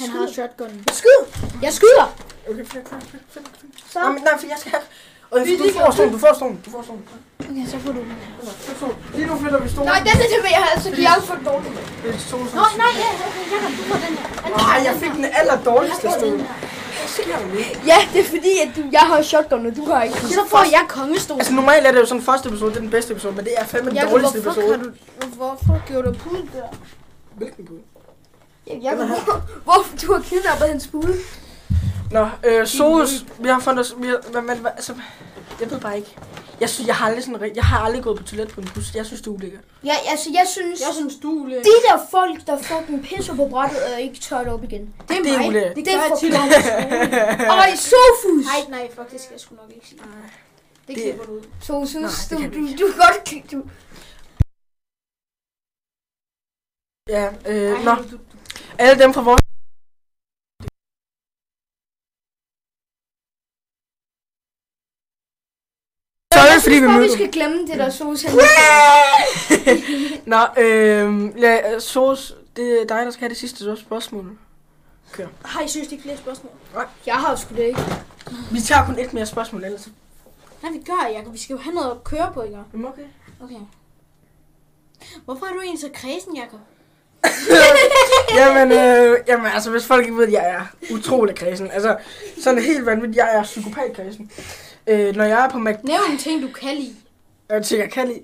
Han har shotgun.
Skyd.
Jeg skyder!
Okay, fint, fint, fint, fint, fint.
Så.
Nej, men nej, for jeg skal have... Og
Vi-
du
vi-
får stolen, du får stolen, du får stolen.
Ja, så får du den.
Du får Lige nu flytter vi stolen.
Nej, den er det, jeg har altså givet for dårligt.
Det er stolen,
Nå, nej, ja, ja, ja, Jacob, du får den her. Han får
Nej,
den
jeg
her.
fik den aller dårligste
Jeg får
stol.
den her.
Hvad sker der nu?
Ja, det er fordi, at du, jeg har shotgun, og du har ikke.
Så får jeg kongestol.
Altså normalt er det jo sådan første episode, det er den bedste episode, men det er fandme den
Jacob,
dårligste
hvorfor
episode.
har du... Hvorfor gjorde du pud der?
Hvilken bud?
Jeg, jeg, hvorfor du har kidnappet hans pude?
Nå, øh, Sohus, vi har fundet os, vi har, men, men, hvad- altså, jeg ved bare ikke. Jeg synes, jeg har aldrig sådan, rigt- jeg har aldrig gået på toilet på en bus. Jeg synes, det er ulækkert.
Ja, altså, jeg synes...
Jeg synes, du er
De der folk, der fucking pisser på brættet og ikke tør det op igen.
Det er
Det er
mig.
ulækkert.
Det
Det
gør
er
jeg
for-
tit over i skolen. (laughs)
Ej, Sofus!
Nej, nej, faktisk, jeg skulle nok ikke sige det. Det
Det-
klipper du ud.
Sofus,
Nej, det
du,
kan vi
du, du, kan godt kigge. Du.
Ja, øh,
Ej,
nå,
du- du-
alle dem fra vores... Sorry,
jeg
fordi
synes
vi
bare,
mødte.
vi skal glemme det der Sofus. han-
Nå, øh, ja, Sohus, det er dig, der skal have det sidste spørgsmål.
Har I synes, det er flere spørgsmål?
Jeg har sgu det ikke.
Vi tager kun et mere spørgsmål, ellers.
Nej, vi gør, Jacob. Vi skal jo have noget at køre på, ikke?
Jamen, okay.
Okay. Hvorfor er du egentlig så kredsen, Jacob?
(laughs) jamen, øh, jamen, altså, hvis folk ikke ved, at jeg er utrolig kredsen. Altså, sådan helt vanvittigt. Jeg er psykopatkredsen. Øh, når jeg er på Mac...
Nævn en ting, du kan lide.
Jeg tænker, jeg kan lide...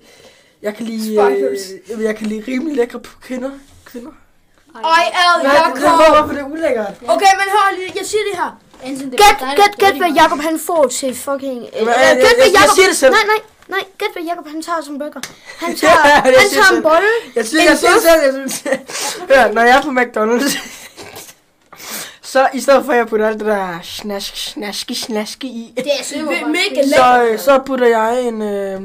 Jeg kan lide... Øh,
Spiders.
jamen, jeg kan lide rimelig lækre på kvinder. Kvinder.
Ej, ad,
Nej, jeg
Jakob.
ved, hvorfor det er ulækkert.
Okay, men hør lige, jeg siger det her.
Enten det
Gæt, gæt, gæt, hvad Jakob han får til fucking... Øh,
Hvad?
øh,
Jeg-
gæt, hvad
jeg- jeg
Jakob...
siger det selv.
Nej, nej, nej. Gæt, hvad Jakob han tager som burger. Han tager,
(laughs) Ja, jeg
han
siger
tager
selv.
en bolle.
Jeg synes,
En
jeg synes
bøf?
selv, jeg synes... (laughs) Hør, når jeg er på McDonald's... (laughs) så i stedet for, at jeg putter alt det der snask, snaske, snaske i...
Det er sådan
bare
mega
fedt.
lækkert.
(laughs) Så, øh, så putter jeg en, øh,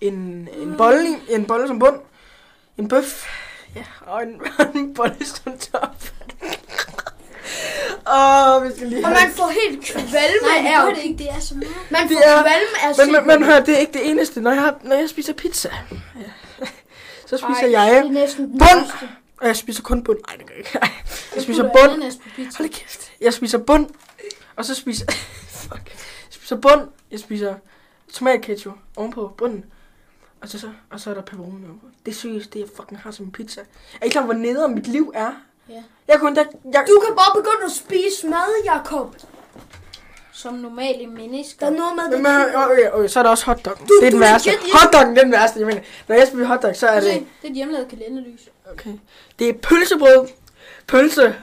en, en, bolle, i- en bolle som bund, en (laughs) bøf, ja, og en, og en bolle som top. (laughs) Åh, vi skal lige
Og
have-
man får helt kvalme
Nej, det
af
gør
at
det ikke. Det er så meget.
Man
Det
får
er-
kvalme af
Men, men, men hør, det er ikke det eneste. Når jeg, har, når jeg spiser pizza, ja. (laughs) så spiser Ej, jeg...
Det er næsten den
Bund!
værste.
Og jeg spiser kun bund. Nej, det gør jeg ikke. (laughs) Jeg spiser bund.
Ananas på pizza.
Hold da kæft. Jeg spiser bund. Og så spiser... (laughs) Fuck. Jeg spiser bund. Jeg spiser tomatketchup ovenpå bunden. Og så, så, og så er der pepperoni ovenpå. Det er seriøst, det jeg fucking har som en pizza. Er I klar, hvor nederen mit liv er?
Ja.
Jeg kunne endda... Jeg,
Du kan bare begynde at spise mad, Jakob.
Som normale mennesker.
Der er noget med det.
Men, men, okay, okay, så er der også hotdoggen.
Du-
det er den
du er
værste.
legit-
Hotdoggen det er den værste. Jeg mener, når jeg spiser hotdog, så
Prøv
er
at se,
det...
det er et hjemmelavet kalenderlys.
Okay. Det er pølsebrød, pølse, (laughs)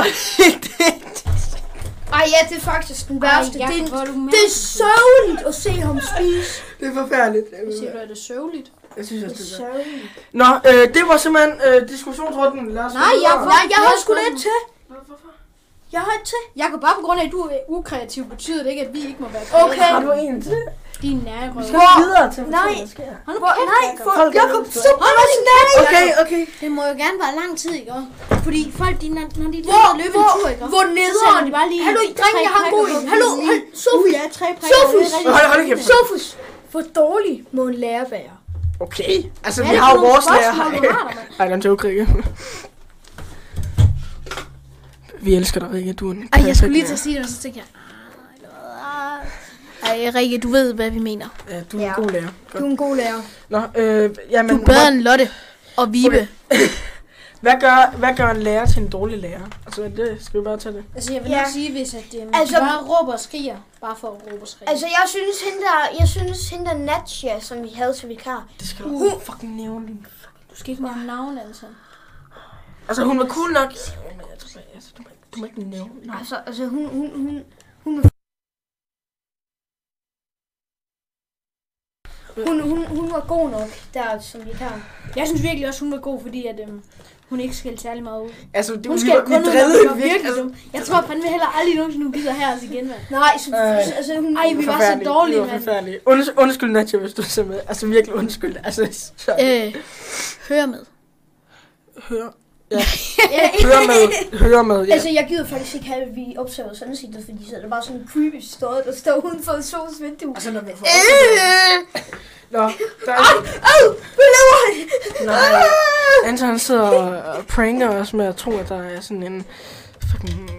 og det,
Ej, ja, det er faktisk den værste.
Ej,
Ej,
Jakob,
det,
hvor
er,
er du mand.
det er sørgeligt at se ham spise.
det er forfærdeligt.
Jeg siger, du er det sørgeligt.
Jeg synes også, det er
Sørgeligt.
Nå, øh, det var simpelthen øh, diskussionsrunden. Lad os
Nej,
gå
jeg
videre.
var-
Nej, jeg har sgu da
Hvorfor?
et til.
Hvorfor?
Jeg har et til.
Jakob, bare på grund af, at du er ukreativ, betyder det ikke, at vi ikke må være
Okay.
Har du en til?
Din nære røv.
Skal vi videre til,
Nej.
hvad der sker?
Hold nu
Hvor,
kæft,
nej,
Jakob.
for
Hold da
Jakob,
kæft.
så bare sådan der.
Okay, okay.
Det må jo gerne være lang tid, ikke? også? Fordi folk, de, når, når de
Hvor,
løber løbe en
hvor,
tur, ikke? også?
hvor
Så sender
nederen.
de bare lige
Hallo,
tre
dreng, jeg har en
prikker på
god en. Hallo,
pizzaen.
hold, Sofie.
Ja, tre prikker. Det
Sofus!
er rigtig-
Hold, hold da kæft.
Sofus, hvor dårlig må en lærer være?
Okay. Altså,
Hvad er
vi
det
har
for
jo
nogle
vores lærer
spørgsmål,
her.
du har der, mand?
(laughs) Ej, den joke, Rikke. Vi elsker dig, Rikke. Du er en
Ej, jeg skulle
perfekt
lige til at sige det, og så tænkte jeg... ah, Ej, Rikke, du ved, hvad vi mener.
lærer. Ja, du er en
Ja.
god lærer.
Du
Godt.
er en god lærer.
Nå, øh, jamen,
Du er bedre end Lotte og Vibe.
hvad, gør, hvad gør en lærer til en dårlig lærer? Altså, det skal vi bare tage det.
Altså, jeg vil
Ja.
nok sige, hvis at, øhm, altså,
Altså-
de bare råber og skriger, bare for at råbe og skrige.
Altså, jeg synes hende der, jeg synes hende der Natja, som vi havde til vikar.
Det skal du uh. fucking nævne. din
du skal ikke nævne navn, altså.
Altså, hun var cool nok. Men jeg tror, altså, du, må, du må ikke nævne. Nej.
Altså, altså hun, hun, hun, hun, hun, hun, hun var god nok der som vikar.
Jeg synes virkelig også, hun var god, fordi at, øhm, hun ikke skældte særlig meget ud.
Altså, det,
Hun
vi,
skal
vi,
kun ud, når
drillede
hun var
virkelig.
virkelig
Altså,
dum. Jeg tror fandme heller aldrig nogensinde, hun gider her os igen, mand.
Nej, så,
Øh.
altså hun...
Ej, vi var så
forfærdeligt.
dårlige,
Det var
mand.
forfærdeligt. Unds- undskyld, Nadia, hvis du ser med. Altså, virkelig undskyld. Altså, så.
Øh, hør med.
Hør. Ja. Hør med. Hør med, ja.
Altså, jeg gider faktisk ikke have, at vi observerer sådan set, fordi så er det bare sådan en creepy stået, der står uden for Sos vindue.
Altså, når vi får...
Øh!
Nå, der er...
Åh, hvad laver han?
Nej. Anton han sidder og- og pranker os med at tro, at der er sådan en... Fucking...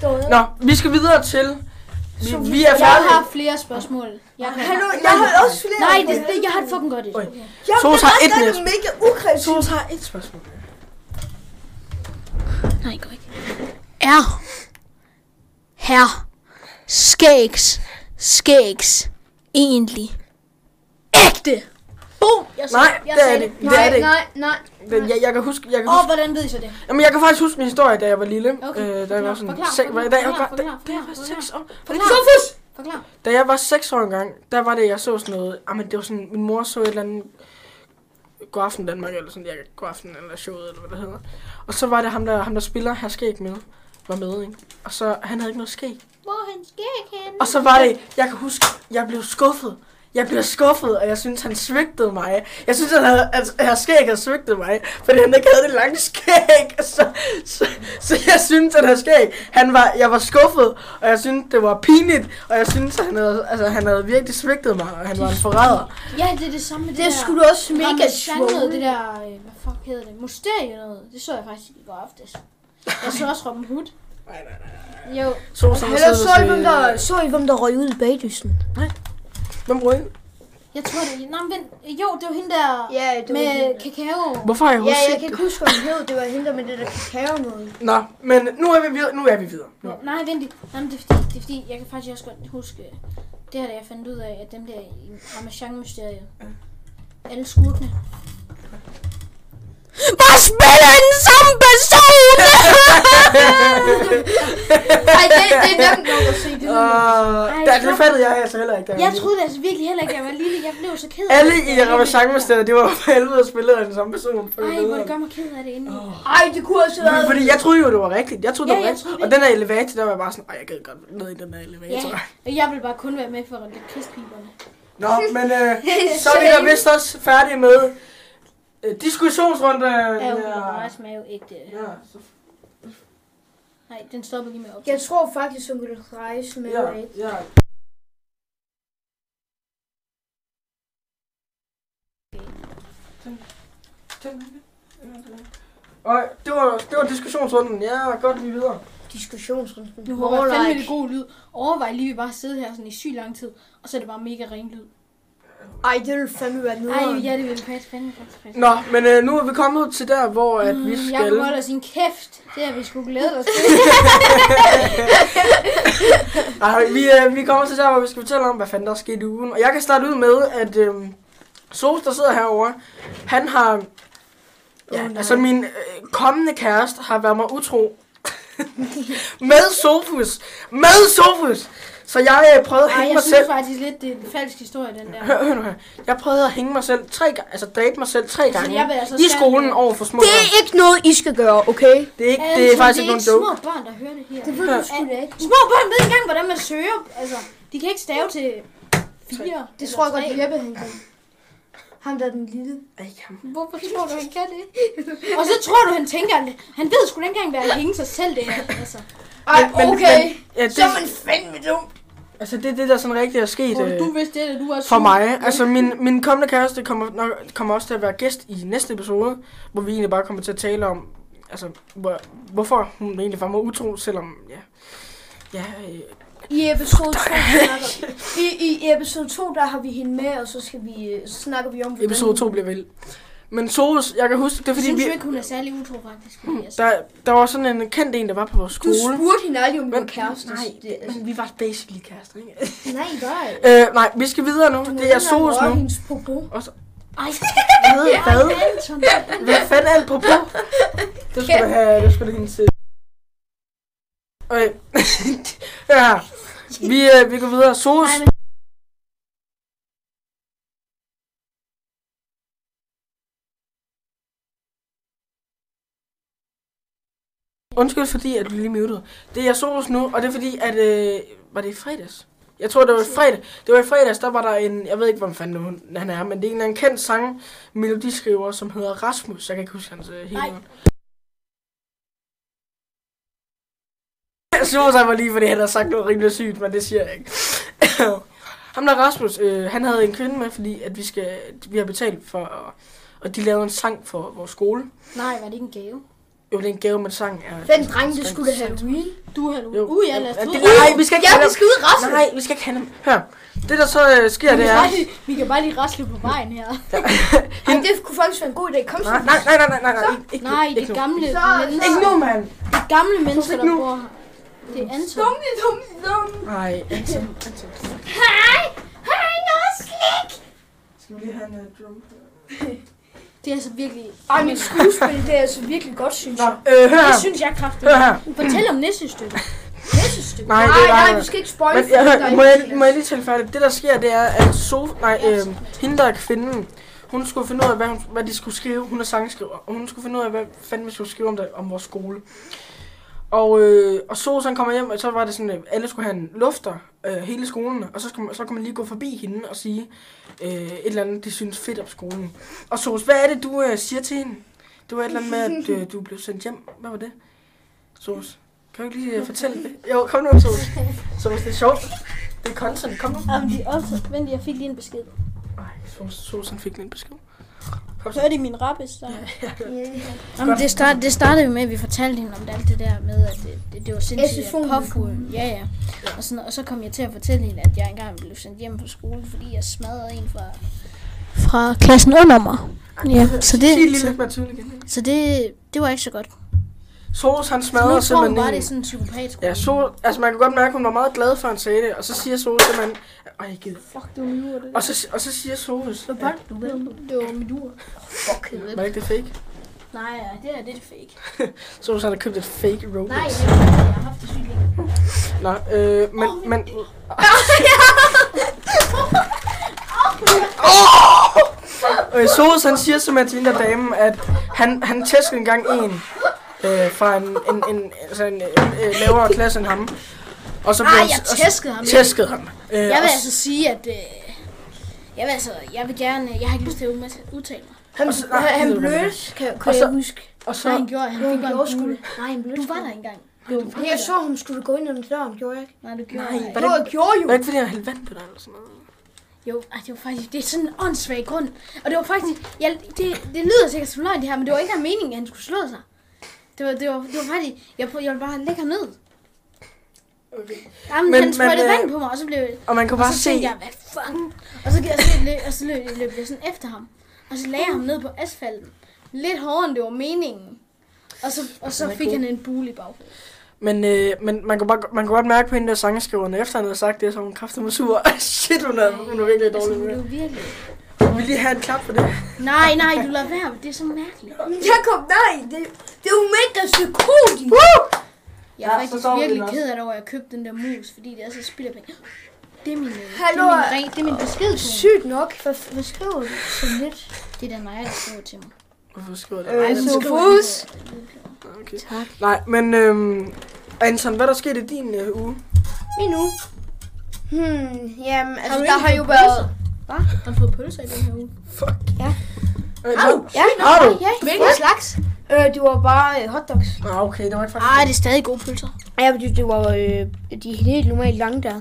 Stået.
Nå, vi skal videre til... Vi, vi er
Jeg
færdige.
har flere spørgsmål. Jeg kan...
Hallo, jeg har også flere.
Nej, det, det, jeg har et fucking godt et.
Oj.
Jeg
Sos har et
Det
næste.
er mega ukreativt.
Sos har et spørgsmål.
Nej, går ikke. Er her skægs skægs egentlig ægte? Boom! Jeg
Nej, det er det.
det.
ikke. Det er det ikke.
nej, nej.
Det- Jeg, jeg kan huske, jeg kan
Åh,
huske,
hvordan ved I så det?
jamen, jeg kan faktisk huske min historie, da jeg var lille.
Okay,
Øh, da jeg
forklar,
var sådan
forklar,
seks,
forklar,
da jeg
forklar,
var, da,
forklar,
da jeg var
forklar.
seks år.
Forklar.
Sofus!
Forklar.
Da jeg var 6 år engang, der var det, jeg så sådan noget. Jamen, det var sådan, min mor så et eller andet God aften Danmark, eller sådan, jeg God aften eller showet, eller hvad det hedder. Og så var det ham, der, ham, der spiller her skæg med, var med, ikke? Og så, han havde ikke noget skæg.
Hvor han skæg henne?
Og så var det, jeg kan huske, jeg blev skuffet. Jeg blev skuffet, og jeg synes, han svigtede mig. Jeg synes, han havde, at her skæg havde svigtet mig, fordi han ikke havde det lange skæg. (laughs) Så, så, så jeg synes, at her skæg, han var, jeg var skuffet, og jeg synes, det var pinligt, og jeg synes, han havde, altså, han havde virkelig svigtet mig, og han var en forræder.
Ja, det er det samme med det,
Det
der.
skulle du også mega
sjovt. Det
sjovt.
der, øh, hvad fuck hedder det? Mysterie noget. Det så jeg faktisk i går aftes. Jeg så også Robin Hood.
Nej, nej, nej.
Jo,
Så, så,
Hallo, så I, hvem der, så I, hvem der røg ud i bagdysten?
Hvem bruger I?
jeg tror det. Nej, men vent. Jo, det var hende der
Ja, det var
med
hende.
kakao.
Hvorfor har jeg
Ja,
husket
jeg kan ikke huske, hvad hun hed. Det var hende der med det der kakao noget.
Nå, men nu er vi videre. Nu er vi videre. Nu.
Nej, vent lige. Nej, men det er, fordi, det er fordi, jeg kan faktisk også godt huske, det her, da jeg fandt ud af, at dem der i Ramachan-mysteriet, alle skurkene. Bare spiller den samme person!
Nej, det,
(laughs)
det er nemt nok at se det.
Øh,
Ej,
der- det
hvorfor?
fattede jeg altså heller ikke. da var
Jeg
lille.
troede altså virkelig heller ikke, at jeg var lille. Jeg blev så ked af
Alle
det.
i Ramachan-mysteriet, det var for helvede spillet af den samme person. for
Ej, hvor det
nederen.
gør mig ked af det indeni. Oh.
Ej, det kunne også have
Men
været...
Fordi jeg troede jo, det var rigtigt. Jeg troede,
Ja,
det var
jeg
rigtigt.
troede
Og den her elevator, der var jeg bare sådan, ej, jeg gad godt ned i den her
Ja,
elevator.
og jeg vil bare kun være med for de krigspiberne.
Nå, men
(laughs)
øh, så er vi da vist også færdige med øh, diskussionsrunde.
Ja, jo, ja. mave ægte.
ja, så
øh, Nej, den stopper lige med op.
Jeg tror faktisk, hun ville rejse med
Ja,
Ray.
ja. Den- den- den- Og det var, det var diskussionsrunden. Ja, godt, vi er videre.
Diskussionsrunden.
Nu håber jeg fandme det god lyd. Overvej lige, at vi bare sidder her sådan i sygt lang tid, og så er det bare mega ren lyd.
Ej, det ville fandme være noget.
Ej, ja, det vil faktisk fandme faktisk fandme.
Nå, men øh, nu er vi kommet til der, hvor at vi
Mm, Jeg
skal...
kunne holde sin kæft. Det har vi sgu glædet os til.
Nej, vi, øh, vi kommer til der, hvor vi skal fortælle om, hvad fanden der er sket i ugen. Og jeg kan starte ud med, at øh, Sos, der sidder herovre, han har... Ja,
Åh, nej.
altså min øh, kommende kæreste har været mig utro. (laughs) med Sofus! Med Sofus! Så jeg øh, prøvede at
Ej,
hænge
jeg
mig
synes
selv...
faktisk lidt, det er en falsk historie, den der.
Hør, hør nu her. Jeg prøvede at hænge mig selv tre gange, altså date mig selv tre gange
jeg vil altså
i
gerne-
skolen over for små
Det
børn.
er ikke noget, I skal gøre, okay?
Det er, ikke, det er faktisk ikke nogen joke.
små børn, der hører det her.
Det ved du sgu da ikke.
Små børn ved ikke engang, hvordan man søger. Altså, de kan ikke stave til fire.
Det tror jeg godt, Jeppe han kan. Ham der er den lille.
Ej, jamen.
Hvorfor tror du, han kan det? (laughs) Og så tror du, han tænker, at han ved sgu ikke engang, hvad at hænge sig selv det her. Altså,
Ej,
Men-
Ah, okay.
men- Ja, det,
Så er man fandme dum.
altså, det er det, der sådan rigtigt er sket.
og
øh,
du vidste det, at du var
For mig. Altså, min, min kommende kæreste kommer, nok, kommer også til at være gæst i næste episode, hvor vi egentlig bare kommer til at tale om, altså, hvor, hvorfor hun egentlig var mig utro, selvom, ja, ja, øh,
I episode 2 snakker i, i episode 2, der har vi hende med, og så, skal vi, øh, så snakker vi om, hvordan-
episode 2 bliver vel. Men Soros, jeg kan huske, det er
Jeg
fordi,
synes jo
vi,
ikke, hun er særlig utro, faktisk. fordi, Altså.
der, der var sådan en kendt en, der var på vores
Du
skole.
spurgte hende aldrig, om du var
Men-
kæreste.
nej,
det, altså,
Men vi var basically kærester, ikke? (laughs)
nej, nej.
øh, nej, vi skal videre nu. Det er Soros nu.
Hendes popo.
Og så,
Ej,
hvad, hvad,
Anton.
hvad fanden er det på på? Det skulle du have, det skulle du hendes... Okay. (laughs) Hør her. Vi, øh, vi går videre. Sos.
Nej, men-
Undskyld fordi, at du lige mutede. Det er Soros nu, og det er fordi, at... Øh, var det i fredags? Jeg tror, det var i fredag. Det var i fredags, der var der en... Jeg ved ikke, hvem fanden hun, han er, men det er en eller anden kendt sang melodiskriver, som hedder Rasmus. Jeg kan ikke huske hans øh, hele
Nej.
navn. Jeg så sig mig lige, fordi han havde sagt noget rimelig sygt, men det siger jeg ikke. (coughs) Ham der Rasmus, øh, han havde en kvinde med, fordi at vi, skal, vi har betalt for, og, og de lavede en sang for vores skole.
Nej, var det ikke en gave?
Jo, det er en gave, men sangen er...
Den dreng, det skulle da have Will.
Du har nu.
Jo.
Uh, ja, lad os
Ja,
ud.
det-
Uh,
Nej, vi skal ikke
Ja,
have
vi
dem.
skal ud resten.
Nej, vi skal ikke have dem. Hør, det der så øh, sker,
vi,
det
kan
er...
bare lige, vi kan bare lige rasle på vejen her.
Ej, det kunne faktisk være en god idé. Kom så.
Nej, nej, nej, nej, nej, nej, nej, ikke, ikke,
Nej,
nu,
det
ikke
er
nu.
gamle
Så-
mennesker.
Ikke nu, mand.
Det er gamle mennesker,
ikke
der
nu.
bor her. Det er Anton.
Dumme, dumme, dumme.
Nej, altså, altså.
Hej. Hej, noget slik.
Skal vi lige have en uh, drum?
Det er altså virkelig...
Ej, min skuespil, det er altså virkelig godt, synes
Nå,
jeg.
øh, hør
Det
her.
synes jeg kraftigt.
Hør her.
Fortæl om næssestykket. Næssestykket.
Nej, det
Nej,
er
nej,
nej.
vi skal ikke spoil,
Men
fordi
jeg,
der er
hør, må, jeg,
ikke-
må jeg lige tale færdigt? Det der sker, det er, at Sof, nej, øh, hende der er kvinden, hun skulle finde ud af, hvad, hun, hvad de skulle skrive. Hun er sangskriver, og hun skulle finde ud af, hvad fanden vi skulle skrive om, det, om vores skole. Og, øh, og Sof, han kommer hjem, og så var det sådan, at alle skulle have en lufter, øh, hele skolen, og så, skulle, man- så kunne man lige gå forbi hende og sige øh, et eller andet, de synes fedt om skolen. Og Sos, hvad er det, du øh, siger til hende? Det var et eller andet med, at øh, du blev sendt hjem. Hvad var det? Sos, kan du ikke lige øh, fortælle det? Jo, kom nu, Sos. Så hvis det er sjovt, det er content. Kom nu.
Om de også... Vent lige, jeg fik lige en besked.
Ej, så, så sådan fik den en besked. Kom
Så
så.
er det min rappes, der... Jamen, det, start, det startede jo med, at vi fortalte hende om det, alt det der med, at det, det, det var sindssygt
SFO'en.
at påfuglen. Ja, ja. Og, sådan, og så kom jeg til at fortælle hende, at jeg engang blev sendt hjem fra skolen, fordi jeg smadrede en fra, fra klassen under mig. Ja, så
Sig lige
det,
lidt
så,
mere tydeligt igen.
så det, det var ikke så godt.
Soros, han
Så nu
smadrer
tror hun
simpelthen
bare, det
en.
er sådan en psykopat.
Ja, så, altså man kan godt mærke, at hun var meget glad for, at han sagde det. Og så siger Soros simpelthen... Ej, jeg gider.
Fuck, det var min ur, det
Og så, og så siger Soros...
Hvad var det, du ved? Det var min ur. Fuck, jeg ved
Var det ikke det fake?
Nej, ja, det er det er fake.
(laughs) Soros, han har købt et fake Rolex.
Nej, det er, jeg har haft det sygt længe.
Nå, øh, men...
Åh,
men øh, Soros, han siger simpelthen til hende der dame, at han, han tæskede engang en øh, fra en, en, en, altså en øh, lavere klasse end ham. Og så blev
Ej,
han-
jeg
og så-
tæskede ham.
Tæskede ham. Øh,
Jeg vil
og s-
altså sige, at... Øh, jeg vil altså... Jeg vil gerne... Jeg har ikke lyst til at udma- udtale mig.
Han,
Og så- nej,
han
det ved jeg
blødte, kan, kan
Og så-
jeg huske.
og
Nej, han
så,
gjorde. Han
Jo,
fik
han
bare
gjorde
en
sgu
kugle.
det. Nej, han blødte.
Du var der engang.
Jo, jeg så ham skulle gå ind under døren, gjorde jeg ikke?
Nej, du gjorde
Nej.
ej.
Var
Jo, jeg
det,
gjorde jo.
var det ikke fordi, han hældte vand på dig eller sådan noget?
Jo, ej, det var faktisk, det er sådan en åndssvag grund. Og det var faktisk, ja, det, det lyder sikkert som løgn det her, men det var ikke af meningen, at han skulle slå sig. Det var, det var, det var faktisk, jeg, prøv- jeg ville bare lægge ham ned.
Okay.
Jamen,
Men-
men, han sprøjtede
men, øh,
vand på mig, og så blev
Og man kunne
og
bare
så
se...
tænkte jeg, hvad fuck? Og så, og så, løb, og så løb, løb jeg sådan efter ham. Og så lagde jeg ham ned på asfalten. Lidt hårdere, end det var meningen. Og så, og så
Den er
fik
god.
han en bule i baghovedet.
Men, øh, men man, kunne bare, man kunne godt mærke på hende der sangskriverne, efter han havde sagt det, så var hun kraftig med sur. (laughs) Shit, hun er, hun er virkelig
Altså,
dårlig
hun
med.
blev virkelig...
Hun vil lige have en klap for det.
Nej, nej, du lader være. Det er så mærkeligt.
Jakob, nej, det, det er jo mænd, der er psykotisk.
Jeg er
Ja, så
faktisk
står vi
virkelig
også.
ked af det over, at jeg købte den der mus, fordi det er så spild af penge. Det er min, øh, det
Hallo,
er min, ring, det er min besked til mig.
Sygt nok. Hvad, hvad skriver du så lidt?
Det er da mig, der skriver til mig.
Hvorfor skriver det?
Øh,
Ej,
så
den skriver-
fus.
Okay.
Tak.
Nej, men øhm, Anton, hvad er der skete i din øh, uge?
Min nu. Hmm, jamen, altså,
du
der
egentlig
har jo
fået
været...
Har du fået pølser i den her uge?
Fuck.
Ja.
Øh,
Au,
Au.
ja.
Har du?
Ja,
Hvilken
slags? Øh, det var bare øh, hotdogs.
Nå, okay, det var ikke faktisk...
Ej, det er stadig gode pølser.
Ja, fordi det var øh, de helt normalt lange der.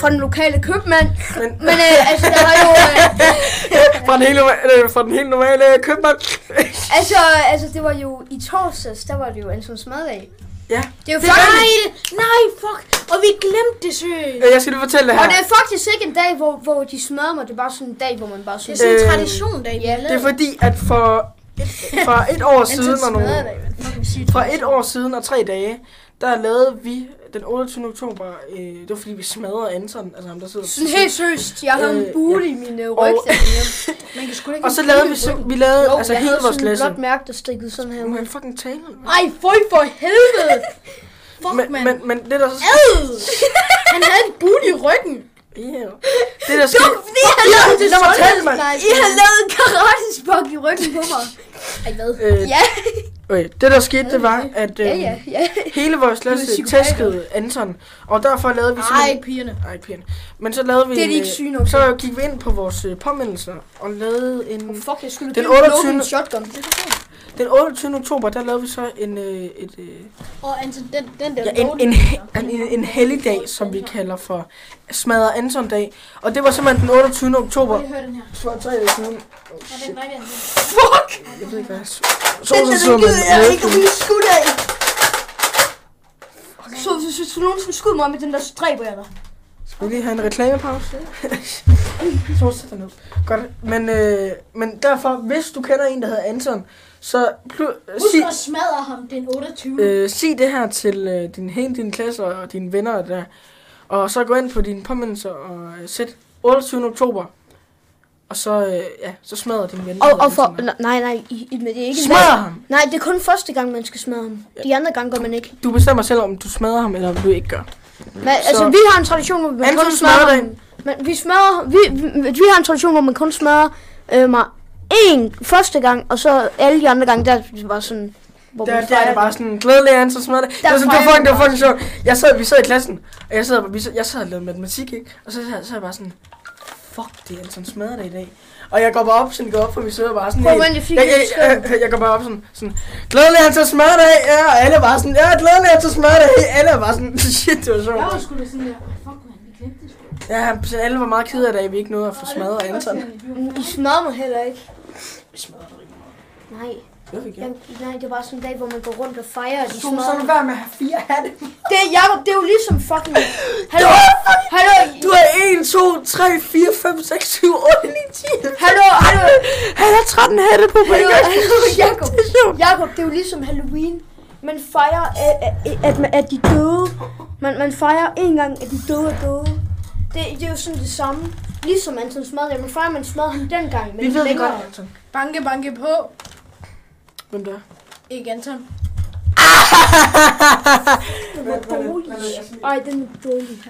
Fra den lokale købmand.
Men,
Men (laughs) øh, altså, der har jo... Øh,
fra, den hele, norma- øh, fra den helt normale øh, købmand. (laughs)
altså, altså, det var jo i torsdags, der var det jo Ansons maddag.
ja.
Det er jo
Nej,
faktisk...
det- nej, fuck. Og vi glemte det, søs.
Øh, Jeg skal lige fortælle det
Og
her.
det er faktisk ikke en dag, hvor, hvor de smadrer mig. Det er bare sådan en dag, hvor man bare
Det
sådan...
er sådan en
Øh,
tradition, der I
ja,
har
Det er
lavet.
fordi, at for et, for et år siden og nogle,
smadrer dig, man. Fucking sygt.
For et år siden og tre dage, der lavede vi den 28. oktober, øh, det var fordi vi smadrede Anton, altså ham der sidder.
Sådan helt seriøst, jeg havde
Øh,
en bule i min øh, ryg,
Og-
da jeg kom hjem.
Man kan sgu da ikke
Og så lavede vi, så, vi lavede
Jo,
altså
jeg
hele
havde
vores
sådan et
klasse.
blåt mærke, der stikkede sådan her.
Nu må jeg fucking tale. mand.
Ej, føj for
(laughs)
helvede. Fuck,
Men,
mand.
men, men det der så...
Ad! Han havde en bule i ryggen.
Yeah. Det der skete...
Fordi han lavede
Lad mig tale, mand!
I har lavet en karatespok i ryggen på (laughs) mig.
Ej, hvad?
Øh,
Ja,
okay, det der skete, det var, at øh,
ja, ja, ja.
hele vores klasse
psykopater.
tæskede Anton, og derfor lavede vi
Ej,
sådan...
ikke pigerne.
Ej, pigerne. Men så lavede vi...
Det er de
en,
ikke
øh,
syge nok
Så gik vi ind på vores øh, påmeldelser og lavede en...
Fuck, jeg skulle
Den
give en
28.
lukken shotgun.
Den 28. oktober, der lavede vi så en... Øh, et, øh,
Og Anton, den, den der...
Ja, en, en, en, en, en helligdag, som vi kalder for smadrer Anton-dag. Og det var simpelthen den 28. oktober.
Prøv lige at høre den her.
For tre dage siden. Oh,
Og den
shit.
var ikke Anton.
Fuck!
Jeg ved ikke, hvad jeg så. Så
Den
så
der,
så
den
man
gider jeg ikke
med.
blive skudt af. Så hvis hvis du nogensinde skyder mig med den der, så dræber jeg dig.
Skal vi lige have en reklamepause? (laughs) så sætter ned. Godt. Men, øh, men derfor, hvis du kender en, der hedder Anton, så plu- sig,
Husk at smadre ham den 28.
Mm.
øh, sig det her til øh, din, hele din klasse og dine venner der. Og så gå ind på dine påmindelser og øh, sæt 28. oktober. Og så, øh, ja, så smadrer din venner.
Og, og for,
Anton.
nej, nej, I, I, men det er ikke en
Smadre
dag.
Ligesom ham!
Nej, det er kun første gang, man skal smadre ham. De andre gange gør man ikke.
Du bestemmer selv, om du smadrer ham, eller om du ikke gør.
Men, altså, vi har en tradition, hvor man
Anton
kun smadrer
smadrer
ham. Men vi smadrer, vi, vi, vi har en tradition, hvor man kun smadrer øh, mig én første gang, og så alle de andre gange, der er det bare sådan, hvor
Der,
man
der er det bare sådan, glædelig Anton så smadrer det. Det var, sådan, det var
fejrer
fucking, det var
man
fucking sjovt. Jeg sad, vi sad i klassen, og jeg sad, vi sad, jeg sad og lavede matematik, ikke? Og så sad, så jeg bare sådan, fuck, det er Anton smadrer det i dag. Og jeg går bare op, sådan går op, for vi sidder bare sådan
Prøv at
helt-
vente, jeg fik
jeg,
lidt
jeg, jeg, jeg, går bare op sådan, sådan glædelig Anton smadrer det, ja, og alle var sådan, ja, glædelig Anton smadrer det, alle var sådan, (laughs) shit, det var
Jeg var
sjovt.
sgu da sådan der, "Ej, fuck man, vi glemte det sgu.
Ja, så alle var meget kede af det, at vi ikke nåede at få
Ej,
smadret
det var
Anton.
sådan, vi var-
I smadrer mig heller ikke.
Vi smadrer det ikke.
Nej,
Det har vi gjort.
jeg, nej, det er bare sådan en dag, hvor man går rundt og fejrer, at de
Så så
smadrer
lad
mig.
være med at have fire hatte.
Det, er- Jacob, det er jo ligesom
(laughs)
fucking... Hallo, hallo,
Du er 1, 2, 3, 4, 5, 6, 7, 8, 9, 10.
hallo, hallo,
Han har 13 hatte på på en
hallo,
gang.
hallo, Jacob.
Det er sjovt.
Jakob, det er jo ligesom Halloween. Man fejrer, at, at, at, man- at de døde. Man, man fejrer en gang, at de døde er døde. Det, det er jo sådan det samme. Ligesom Anton smadrede det. Man fejrer, at man smadrede ham dengang. Men
Vi ved det
længere.
godt, Anton.
Banke, banke på.
Hvem der?
Ikke Anton.
Den var dårlig. Ej, den er dårlig.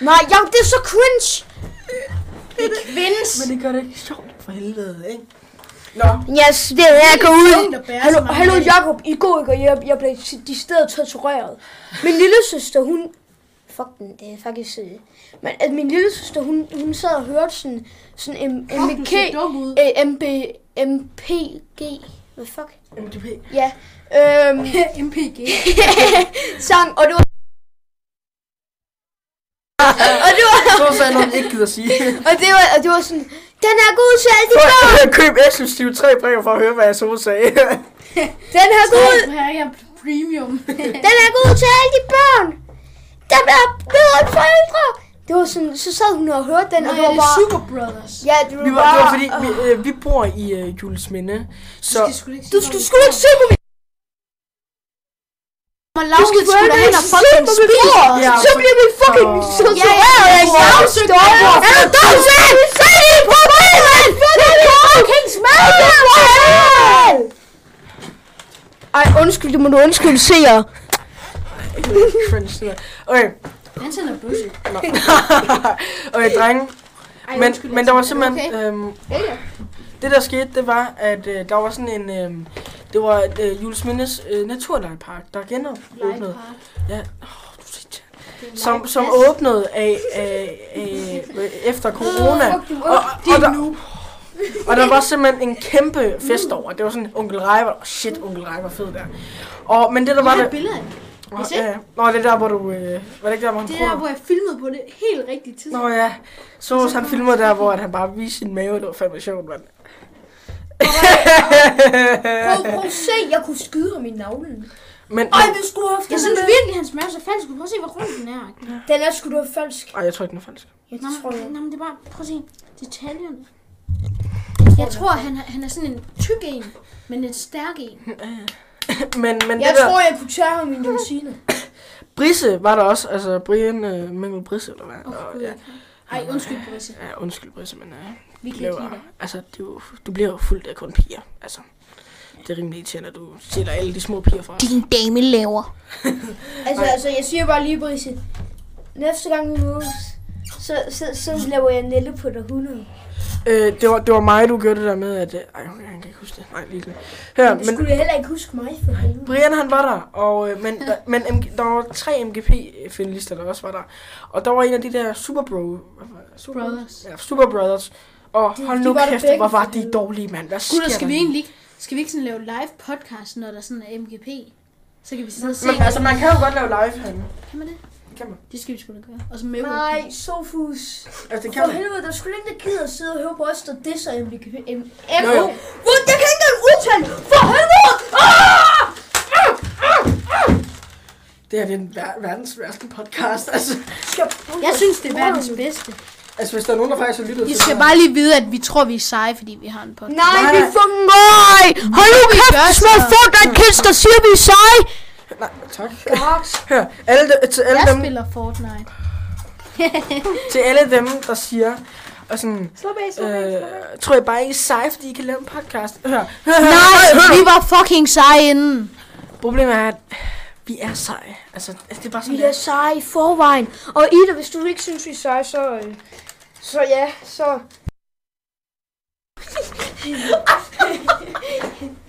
Nej, Jakob, det er så cringe.
Det er kvindes.
Men det gør det ikke sjovt for helvede, ikke? Nå,
Yes, det er jeg går ud.
tungt at bære
Hallo,
så mange
hallo
ting.
Jakob, i går ikke, og jeg, jeg blev de steder tortureret. Min lille søster, hun... Fuck den, det er faktisk... øh, Men at min lille søster, hun, hun sad og hørte sådan, sådan M-
Fuck, du
MK,
ser dum ud.
øh, MB, MPG, Hvad fuck?
MDP.
Ja. Øhm, (laughs)
MPG.
sang, og det var... og det var...
Så sagde nogen ikke gider (laughs) sige.
Og det var, og det var sådan, den er god til alle de børn!
Køb eksklusivt tre brev for at høre, hvad jeg så sagde.
Den er god!
Her er (laughs) premium.
Den er god til alle de børn! Der bliver bedre end forældre! Det var sådan, så sad hun og hørte den,
Nej,
og det
det
var
er
bare...
Super Brothers.
Ja, det var,
vi, var,
bare...
det var fordi, vi, øh, vi bor i øh, Jules Minde. Så
Du skal sgu da ikke
Du
sige noget.
skal sgu ikke se på min...
Man laver det sgu da hen og fucking spise os.
Ja.
Så bliver vi fucking
Ja, ja,
censureret
ja,
af
ja.
stavstøj! Er du dårlig? Se det på billedet! Det er fucking smag! Ej, undskyld, det må du undskylde, seer.
cringe. det der. Okay,
Han sender bøsse.
okay drenge.
Ej,
Men,
undskyld,
men der var
jeg sender-
simpelthen... Øhm,
Ja, ja.
det der skete, det var, at øh, der var sådan en... Øh, det var øh, Jules Mindes øh, naturlejpark, der genåbnede.
Lightpark.
Ja, åh, du siger tja.
Det er
som, som
lightplads.
åbnede af, af, af, øh, efter corona.
fuck, du
og, og, der, og der var simpelthen en kæmpe fest over. Det var sådan, onkel Rej var, shit, onkel Rej var fed der. Og, men det der
Jeg
var
har
det...
et billede af det.
Nå,
Hvis
ja, ja. Nå, det er der, hvor du... Øh, var det ikke der, hvor han
Det er der,
prøver?
hvor jeg filmede på det helt rigtige tidspunkt.
Nå ja, så hvis han filmede der, hvor at han bare viste sin mave, det var fandme sjovt, mand.
Prøv, prøv at se, jeg kunne skyde ham i navlen.
Men,
Ej, vi skulle have haft
Jeg
den
synes
med.
virkelig, hans mave er så falsk. ud. Prøv at se, hvor rund den er.
Den er sgu da falsk.
Ej, jeg tror ikke, den er falsk.
Jeg
Nå,
tror, jeg.
men, nå, men det er bare, prøv at se, detaljerne. Jeg tror, han, er- han er sådan en tyk en, men en stærk en.
Men, men
Jeg
det der,
tror, jeg kunne tage ham i en limousine.
Brisse var der også, altså Brian øh, Mengel Brisse, eller hvad?
Åh,
Og,
Gud,
ja,
jeg kan- Ej, undskyld, Brisse.
ja, undskyld Brisse, men øh,
Vi
du
kan ikke
bliver,
lide dig.
altså, det er jo, du bliver jo fuldt af kun piger, altså. Det er rimelig irriterende, at du stiller alle de små piger fra.
din dame laver.
Altså,
Ej.
altså, jeg siger bare lige, Brisse. Næste gang vi mødes, så, så, så laver jeg Nelle på dig 100.
Øh, det, var, det var mig, du gjorde det der med, at... øh, Ej, okay, han kan ikke huske det. Nej, lige Her,
Det
men,
skulle du heller ikke huske mig for helvede.
Brian han var der, og, øh, men, der, men MG, der var tre MGP-finalister, der også var der. Og der var en af de der Super Bro... hvad var det? Super
Brothers.
Ja, Super Brothers. Og hold
de
nu
var der
kæft,
begge
hvor var
for
de
helvede.
dårlige, mand. Hvad sker
Gud, skal
der
vi
nu?
egentlig ikke, skal vi ikke sådan lave live podcast, når der sådan er MGP? Så kan vi sidde og se,
Men altså, man kan jo godt lave live herinde.
kan man det?
Kan man?
Det skal vi sgu da gøre. Og så med
Nej, Sofus.
Altså, det kan
For
man.
helvede, der skulle ikke der gider at sidde og høre på os, der disser MBK. M-
Jo,
M-
jo.
Hvor, jeg kan ikke engang udtale! For helvede! Ah!
Det her det er den ver- verdens værste podcast. Altså,
Jeg synes, det er verdens bedste.
altså, hvis der er nogen, der faktisk har lyttet
I
til
skal
det her-
bare lige vide, at vi tror, vi er seje, fordi vi har en podcast.
Nej,
Nej,
vi
nej.
fucking...
Nej! Hold nu kæft,
gør
du små
så.
fuck, der er en kids, der siger, vi er seje!
Nej, tak. Hør, alle, de- til alle
Jeg
dem,
spiller Fortnite.
til alle dem, der siger, og sådan,
Slap af, slap af, slap af.
øh, tror jeg bare, I er seje, fordi I kan lave en podcast. Hør, hør,
Nej, vi var fucking seje inden.
Problemet er, at vi er seje. Altså, det er bare sådan,
Vi er seje i forvejen. Og Ida, hvis du ikke synes, vi er seje, så... øh, Så ja, så...
(laughs)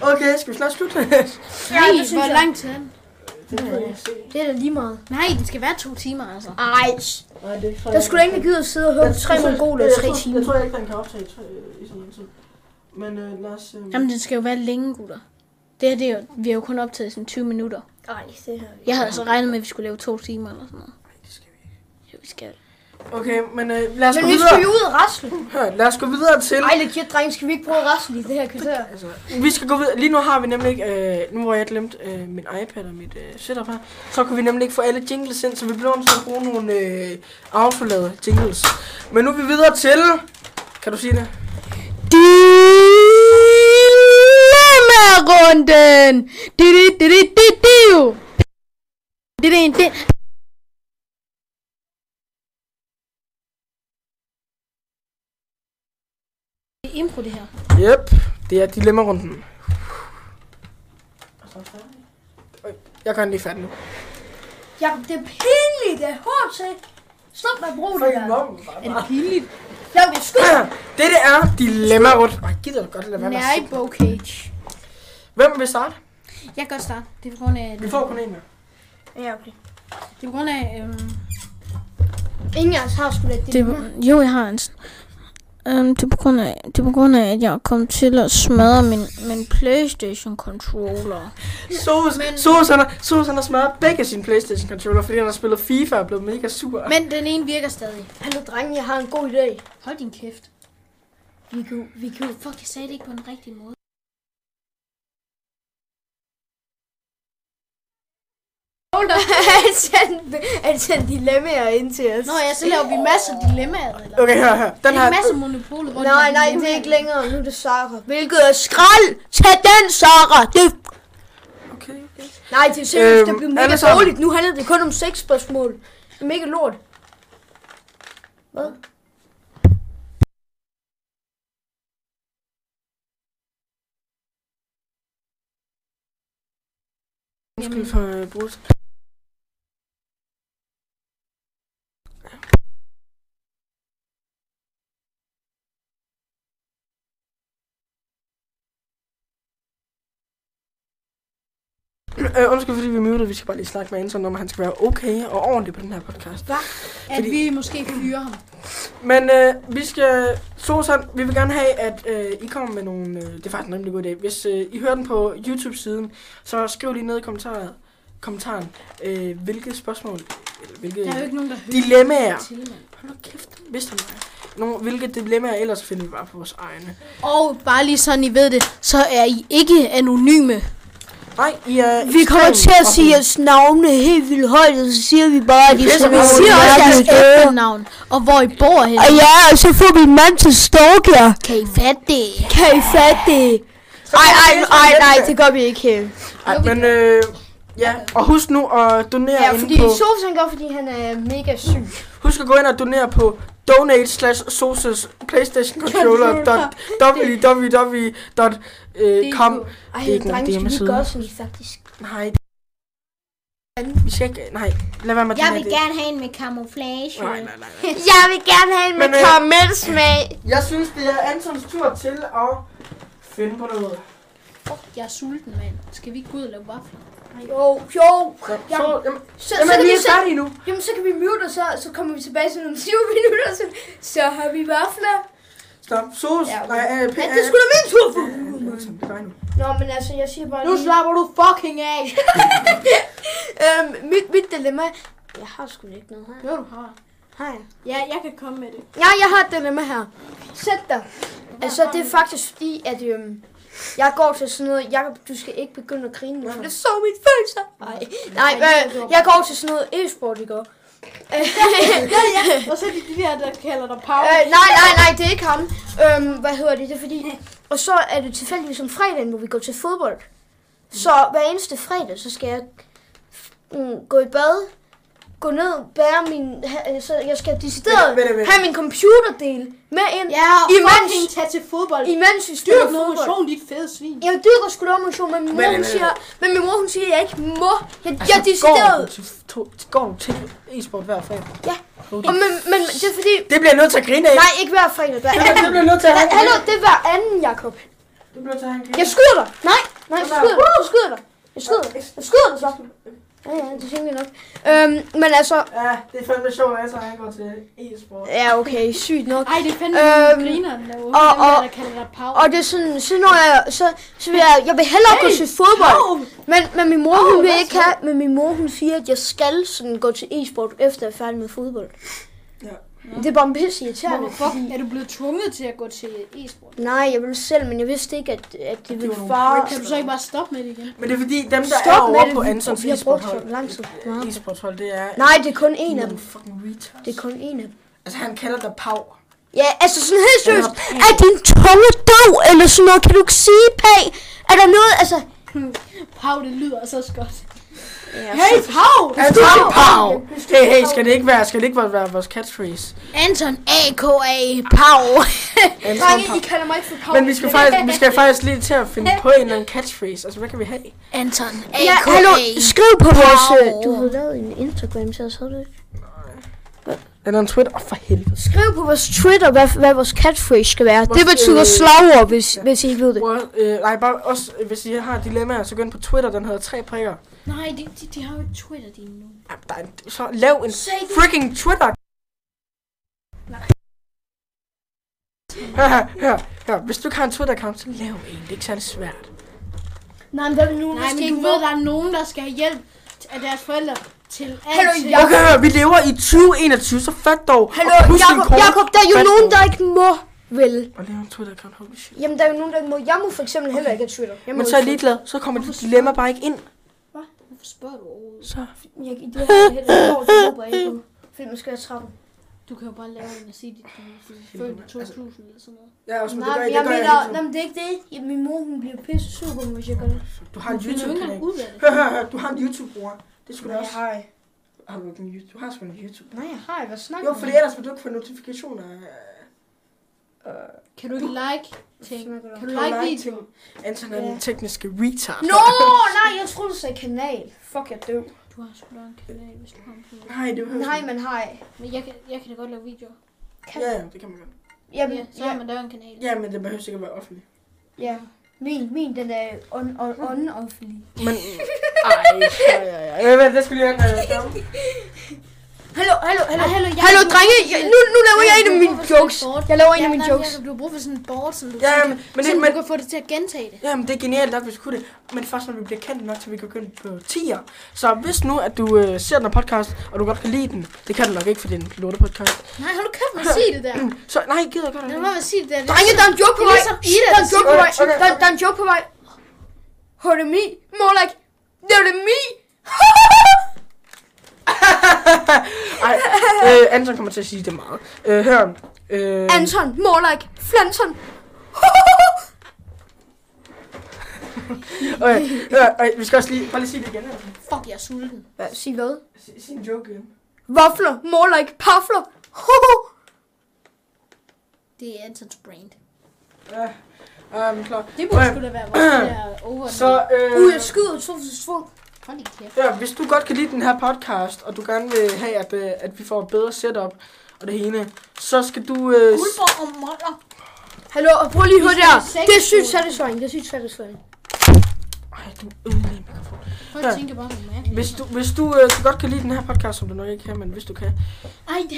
Okay, skal vi snart slutte?
Ja,
Nej,
det synes
hvor
jeg.
lang tid er den?
Det er da lige meget.
Nej, den skal være to timer, altså.
Ej, der skulle da ikke gider at sidde og høre på tre mongoler i tre timer.
Jeg tror ikke, den kan optage i, i sådan en tid. Men øh, lad os... Øh,
Jamen, den skal jo være længe, gutter. Det her, det er jo, vi har jo kun optaget sådan 20 minutter.
Ej, det her...
Jeg havde altså regnet med, at vi skulle lave to timer eller sådan noget.
det skal vi ikke.
Jo, vi skal.
Okay, men øh, lad os
Men
gå
vi skal jo
videre.
ud og rasle.
Hør, lad os gå videre til...
Ej, legit, drenge, skal vi ikke prøve at rasle i det her kvarter?
Altså, vi skal gå videre. Lige nu har vi nemlig ikke... Øh, nu hvor jeg glemte øh, min iPad og mit øh, setup her, så kunne vi nemlig ikke få alle jingles ind, så vi blev nødt til at bruge nogle øh, autolavede jingles. Men nu er vi videre til... Kan du sige det?
Dilemma-runden! Di di di di di di di di di
Det er impro, det her.
Yep, det er dilemma-runden. Øj, Jeg gør den lige færdig nu.
Jakob, det er pinligt, det er hårdt til. Stop med at bruge det der.
Er det pinligt?
Jakob, jeg skyder.
Dette er dilemma-runden. Ej, gider du godt lade være med
Nej,
at sige.
Bocage.
Hvem vil starte?
Jeg kan godt starte. Det er på grund af...
Vi får kun en mere.
Ja, okay.
Det er på grund af... Øhm,
Ingen af os har sgu da det.
det, jo, jeg har en...
Øhm, det, er på grund af, det er på grund af, at jeg kom til at smadre min, min Playstation-controller.
Sos, men... Sos, han har, Sos, han har smadret begge sine Playstation controller, fordi han har spillet FIFA og er blevet mega sur.
Men den ene virker stadig.
Hallo drenge, jeg har en god idé.
Hold din kæft. Vi kan, jo- vi kan jo... Fuck, jeg sagde det ikke på den rigtige måde.
(laughs) Han sendte, han sendte dilemmaer ind til os.
Nå ja, så laver vi masser af dilemmaer, eller?
Okay, hør her. Den
Det er
her,
en masse monopoler, hvor de
Nej,
har
nej, det
dilemmaer.
er ikke længere. Nu er det Sara. Hvilket er skrald! Tag den, Sara! Det...
Okay, okay.
Nej, det er seriøst,
Øhm,
det blev
alle
mega
sammen.
dårligt. Nu handler det kun om seks spørgsmål. Det er mega lort. Hvad?
Undskyld for øh, brudet. Øh, undskyld, fordi vi mødte, vi skal bare lige snakke med Anton om, at han skal være okay og ordentlig på den her podcast.
At
Fordi-
vi måske fyrer ham.
Men øh, vi skal, Susan, vi vil gerne have, at øh, I kommer med nogle, øh, det er faktisk en rimelig god idé. Hvis øh, I hører den på YouTube-siden, så skriv lige ned i kommentaret, kommentaren, øh, hvilke spørgsmål, eller hvilke
Der er jo ikke nogen, der hører
dilemmaer,
til, mand.
hold nu kæft, vidste han mig. Nogle, hvilke dilemmaer ellers finder vi bare på vores egne.
Og bare lige sådan, I ved det, så er I ikke anonyme.
Nej, I er
Vi kommer til at sige
at...
jeres navne helt vildt højt, og så siger vi bare, at de
pisser
skal
mig
være
over
Sig
Ja,
også jeres
verdens bedste.
efternavn, og hvor I bor henne.
Og ja, og så får vi en mand til at stalke jer.
Kan I fatte det?
Kan I fatte det? Ej, ej, ej, nej, det gør vi ikke her.
Ej, men øh, ja, og husk nu at donere
Ja,
inde
fordi
på...
Sofus han gør, fordi han er mega syg.
Husk at gå ind og donere på donate slash sources playstation controller dot www dot øh, com.
Ej,
Det er ikke nogen
drenge, skal vi
hjemmeside.
gøre sådan faktisk?
Nej. Vi skal ikke, nej, lad være med at
Jeg
donere
vil gerne have en med camouflage.
det. Nej, nej, nej, nej.
Jeg vil gerne have en
med Men, øh,
karamelsmag.
Jeg synes, det er Antons tur til at finde på noget.
Fuck, jeg er sulten, mand. Skal vi ikke gå ud og lave vafler?
Jo, jo.
Så,
Jamen,
så, jamen,
Så, så,
jamen
kan
vi
vi
er
så,
færdige nu.
jamen, så kan vi mute, og så, så kommer vi tilbage til nogle 20 minutter, så, så har vi vafler.
Stop, sos,
Ja, okay.
nej, øh,
Ja, det skulle da min tur for.
være nu.
Nå, men altså, jeg siger bare
Nu slapper du fucking af!
(laughs) Øhm, mit, mit dilemma... Jeg har sgu da ikke noget her.
Jo, du har.
Hej.
Ja, jeg kan komme med det.
Ja, jeg har et dilemma her. Sæt dig. Altså, det er faktisk fordi, at øhm, jeg går til sådan noget... Jakob, du skal ikke begynde at grine nu, for det så mine følelser. Nej, nej, øh, jeg går til sådan noget e-sport i går.
Og så er det de der, der kalder dig power.
Øh, nej, nej, nej, det er ikke ham. Øhm, hvad hedder det? Det er fordi... Og så er det tilfældigvis om fredagen, hvor vi går til fodbold. Så hver eneste fredag, så skal jeg mm, gå i bad, gå ned, bære min... ha- øh, Så jeg skal decideret
Vent, vent, vent.
have min computerdel med ind,
Ja, og
Imens-
fucking tage til fodbold.
imens vi spiller
Dyrk noget
fodbold.
motion, dit fede svin.
Jeg dyrker sgu lovmotion, men min mor,
Men-
hun siger, men min mor, hun siger, at jeg ikke må. Jeg, altså,
Altså,
jeg decideret.
går du til, to, går du til e-sport hver fredag?
Ja. Og men, men det er fordi,
Det bliver jeg nødt til at grine af.
nej, ikke hver fredag. Hver,
Det bliver jeg nødt til at have.
hallo, det er hver anden, Jakob.
Det bliver jeg nødt til at have. en grine.
Jeg skyder dig. Nej, nej, jeg skyder dig. Jeg skyder dig. Jeg skyder dig. Jeg skyder dig så. Ja, ja, det er simpelthen nok. Øhm, men altså,
Ja, det er fandme sjovt, at han går til e-sport.
ja, okay, sygt nok.
Ej, det er fandme
Øhm,
øhm, grineren derude,
og-
dem der,
og-
der kalder dig power.
Og det er sådan, så når jeg, så, så vil jeg, jeg vil hellere gå til fodbold. Men, men min mor, hun vil ikke have, men min mor, hun siger, at jeg skal sådan gå til e-sport, efter jeg er færdig med fodbold.
Ja.
Det er bare en pisse irriterende.
Hvorfor fuck er du blevet tvunget til at gå til e-sport?
Nej, jeg ville selv, men jeg vidste ikke, at, at det
Det var
ville
nogle
fare.
freaks.
Kan du så ikke bare stoppe med det igen?
Men det er fordi, dem, der
Stop
er
med
over
det,
på
vi-
Ansons
vi har brugt
e-sporthold,
for lang tid.
øh, e-sporthold, det er...
Nej, det er kun en
en
af dem.
fucking retards.
Det er kun en af dem.
Altså, han kalder dig pav.
Ja, altså sådan helt seriøst.
Eller-
Er din tunge dog, eller sådan noget? Kan du ikke sige, pæ? Er der noget, altså...
Pow, det lyder så (laughs) godt.
Ja,
Hey, pow!
Altså, det er pav! Hey, hey, skal det ikke være, skal det ikke være, være vores catchphrase?
Anton A.K.A. Pow.
Anton
Drenge,
Pav.
I kalder mig ikke for Paul.
Men vi skal faktisk, vi skal faktisk lige til at finde på en eller anden catchphrase. Altså, hvad kan vi have?
Anton
Ja,
A.K.A.
hallo, skriv på vores... øh,
Paul.
Du har lavet en Instagram til os, har du ikke?
Eller en Twitter? Åh, for helvede.
Skriv på vores Twitter, hvad, hvad vores catchphrase skal være.
Vores,
det betyder
øh,
slagord, hvis, hvis I ikke ved det.
Hvor, øh, nej, bare også, øh, hvis I har dilemmaer, så gå ind på Twitter, den hedder tre prikker.
Nej, de, de, de har jo ikke Twitter lige nu.
Ej, der er en, så lav en freaking Twitter. hør, her, hør, hør. Hvis du ikke har en Twitter-account, så lav en. Det er ikke særlig
Øh,
svært.
Nej, men hvad nu,
Nej,
hvis det
men du
ikke
ved,
ved?
der er nogen, der skal have hjælp t- af deres forældre til
Hallo,
altid.
jeg-
Okay, hør, vi lever i 2021, så fat dog.
Hallo,
og pus din
Jakob,
kort.
Jakob, der er jo
Fat
nogen,
dog.
der ikke må, vel?
Og lave en Twitter-account, holy shit.
Jamen, der er jo nogen, der ikke må. Jeg må for eksempel heller ikke have Twitter. Jeg må
Men så er jeg
ikke
ligeglad, så kommer dit dilemma bare ikke ind.
Hvorfor spørger du overhovedet?
Så.
Twitter. Jeg i det her heller ikke, jeg håber ikke på. Fordi man skal have trappen.
Du kan jo bare lave en og sige, at du er født i 2000 eller sådan noget.
Ja, også,
Nej, men jeg mener, nej, men det er ikke det. Ja, min mor, hun bliver pisse sur på mig, hvis jeg gør det.
Du har en
Du finder jo ikke engang
YouTube-kanal.
ud af det.
Hør, hør, hør, du har en YouTube-bror. Det skulle du
Nej, jeg
også.
har ikke.
Har du ikke en YouTube? Du har sgu en YouTube.
Nej, jeg har ikke. Hvad snakker
Jo, fordi ellers vil du ikke få notifikationer. øh,
Kan du ikke like ting?
snakker du om?
Kan du like
like
video?
Anton er den
Ja.
tekniske retard.
Nå, nej, jeg troede, du sagde kanal. Fuck, jeg døv.
Du har sgu da en kanal, hvis du har en kanal.
Nej, det behøver
Nej,
ikke.
man har ikke.
Men jeg kan, jeg kan da godt lave videoer.
Kan
Ja, ja, det kan man godt.
Jamen,
Ja, så
ja,
har man lavet en kanal.
Ja, men det behøver sikkert være offentligt.
ja. Min, min, den er on, on,
Hm.
on, offentlig.
Men... Ej, ej, ej, ej. Vent, det skulle lige have
(laughs)
en
Hallo, hallo, hallo.
Ej, hallo, jeg
Hallo,
har-
drenge. Jeg, nu, nu laver jeg en af
du har
mine
brug for sådan
jokes.
et board.
Jeg laver en
Ja,
af mine
nej, men
jokes.
Jacob, Du har brug for sådan en board, som du,
Ja,
sådan,
men,
kan-
men, det,
sådan,
men,
du kan få det til at gentage det.
Jamen, det er genialt nok, hvis vi kunne det. Men først, når vi bliver kendt nok, til vi kan begynde på 10'er. Så hvis nu, at du øh, ser den her podcast, og du godt kan lide den, det kan du nok ikke, for det er en lortepodcast.
Nej, hold nu kæft med at sige det der.
Så nej, gider jeg godt
Lad
ikke.
mig at sige det der. Det er
Drenge, der er en joke på
Det er
vej.
ligesom Ida,
Der er en
der
joke på
siger-
vej.
Okay, okay.
Der, der er en joke på vej. Hold me. More like, they're me.
(laughs) Ej, øh, Anton kommer til at sige det meget. Øh, hør,
Øhm.
øh,
Anton, more like, Flanton. (laughs)
øh, hør, øh, vi skal også lige, bare lige sige det igen. Anton.
Fuck, jeg er sulten.
Hvad? Sig hvad?
Sig, sig en joke igen.
Vafler, more like, pafler.
Det er Antons brand.
Ja, øh, men klar.
Det burde
Øh,
sgu da være vores det der over.
Så, øh,
Ud, Uh, jeg skyder to for to.
Hold i kæft.
Ja, hvis du godt kan lide den her podcast, og du gerne vil have, at, øh, at vi får et bedre setup og det hele, så skal du... Øh, s-
Guldborg og Moller.
Hallo, og prøv lige at høre
Vi
det her.
skal have
Det er
seks
sygt
på.
satisfying, det er sygt satisfying.
Ej, du ødelægger mikrofonen.
Folk
Ja.
tænker bare, hvor mærkeligt.
Hvis du, hvis du øh, kan godt kan lide den her podcast, som du nok ikke kan, men hvis du kan.
Ej, den er den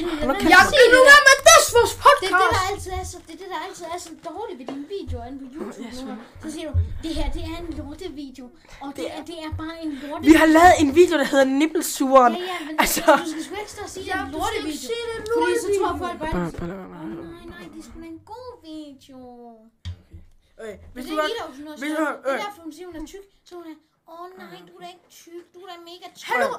Jeg kan nu være med det, vores
Det er det,
podcast.
der altid er så, det er det, der altid er så dårligt ved dine videoer inde på YouTube.
Ja,
nu. så siger du, det her, det er en lortevideo, og det, er, det er bare en lorte
Vi har lavet en video, der hedder Nippelsuren.
Ja, ja, men
Altså-
altså, du skal sgu ikke stå og sige, det er en lortevideo. Fordi så tror folk bare,
Bare,
at-
bare, bare,
Åh,
bare.
nej, nej, det er sgu da en god video. Men
Okay, hvis
det
du
er
godt...
Ida, hun også.
hvis
Det
du har-
er
øh.
derfor, hun siger, hun er tyk. Så hun er, åh nej, du er da ikke tyk, du er da mega tyk.
Hallo!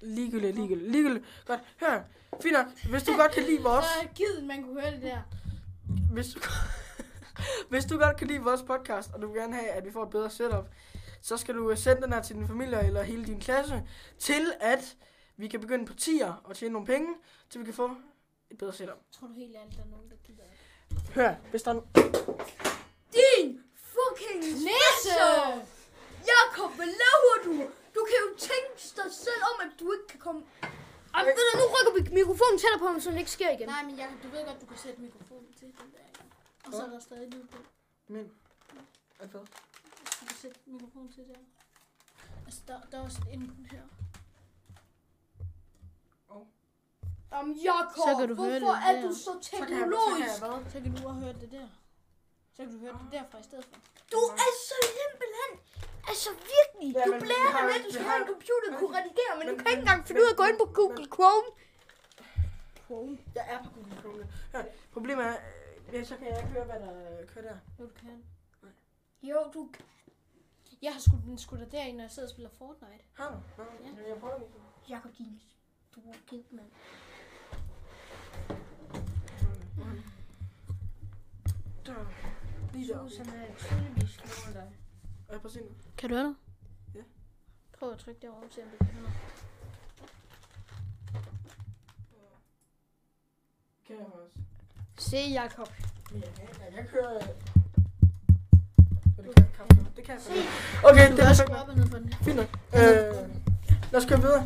Ligegyldigt, ligegyldigt, ligegyldigt. Godt, hør. Fint nok. Hvis du godt kan lide vores...
Så gid, man kunne høre det der.
hvis du, (laughs) hvis du godt kan lide vores podcast, og du vil gerne have, at vi får et bedre setup, så skal du øh, sende den her til din familie eller hele din klasse, til at vi kan begynde på 10'er og tjene nogle penge, til vi kan få et bedre setup.
Tror du helt ærligt, der er nogen, der gider det?
Hør, hvis der er no-
Din fucking
Næse!
Jakob, hvad laver du? Du kan jo tænke dig selv om, at du ikke kan komme... Ej, ved du, nu rykker vi mikrofonen tættere på ham, så det ikke sker igen.
Nej, men Jacob, du ved godt, du kan sætte mikrofonen til den der. ikke? Og så er der stadig lyd på.
Men, er det bedre?
Du kan sætte mikrofonen til der. Altså, der, der er også en på den her.
Jamen, Jakob,
Så kan du høre
hvorfor
det
er
der.
du så
Så kan jeg, så kan
teknologisk?
jeg hvad?
Så kan du også høre det der. Så kan du høre det derfra i stedet for.
Du er så simpelthen... Altså virkelig,
Ja,
du
men vi
blærer dig
har-
med, at du
vi
skal
har-
have en computer, der kunne redigere, men
men-
du kan ikke
men-
engang finde ud af at gå
men-
ind på Google Chrome.
Jeg er på Google Chrome. Hør, problemet er, øh, ja, så kan jeg ikke høre, hvad der øh, kører der.
Jo, du kan.
Jo, du kan.
Jeg har sgu den sgu da derinde, når jeg sidder og spiller Fortnite.
Har du? Nå, jamen, jeg prøver lige.
Jakob, din store ged, mand.
Mhm. Der. Lige der.
Susan er tydeligvis klogere end dig.
Og jeg prøver at se nu.
Kan du høre det?
Ja.
Prøv at trykke derovre, til om det kan høre noget.
Kan jeg også?
Se, Jakob.
Men jeg kan ikke- jeg kan ikke høre, øh. Det kan jeg ikke. Det kan jeg ikke. Okay,
Du
det
kan
er
også
perfekt.
gå op og ned på den her.
Fint nok. Øh, lad os køre videre.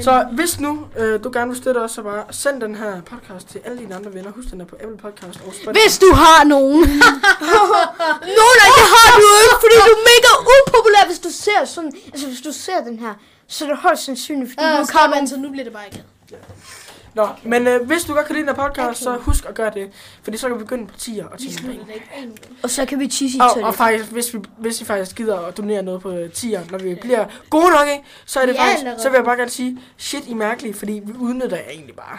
Så hvis nu øh, du gerne vil støtte os, så bare send den her podcast til alle dine andre venner. Husk den er på Apple Podcast og Spotify.
Hvis du har (laughs) nogen. nogen af det har du ikke, fordi du er mega upopulær, hvis du ser sådan. Altså, hvis du ser den her, så er det højst sandsynligt, fordi
Øh,
du
stop,
kommer...
altså, nu bliver det bare ikke.
Nå, men øh, hvis du godt kan lide den her podcast, så husk at gøre det. Fordi så kan vi begynde partier og tjene penge.
Og så kan vi tisse i
Og, og
toilettet.
faktisk, hvis vi, hvis vi faktisk gider at donere noget på øh, tier, når vi bliver gode nok, ikke? så er det
Vi er
faktisk,
allerede.
så vil jeg bare gerne sige, shit, I er mærkelige, fordi vi udnytter jer egentlig bare.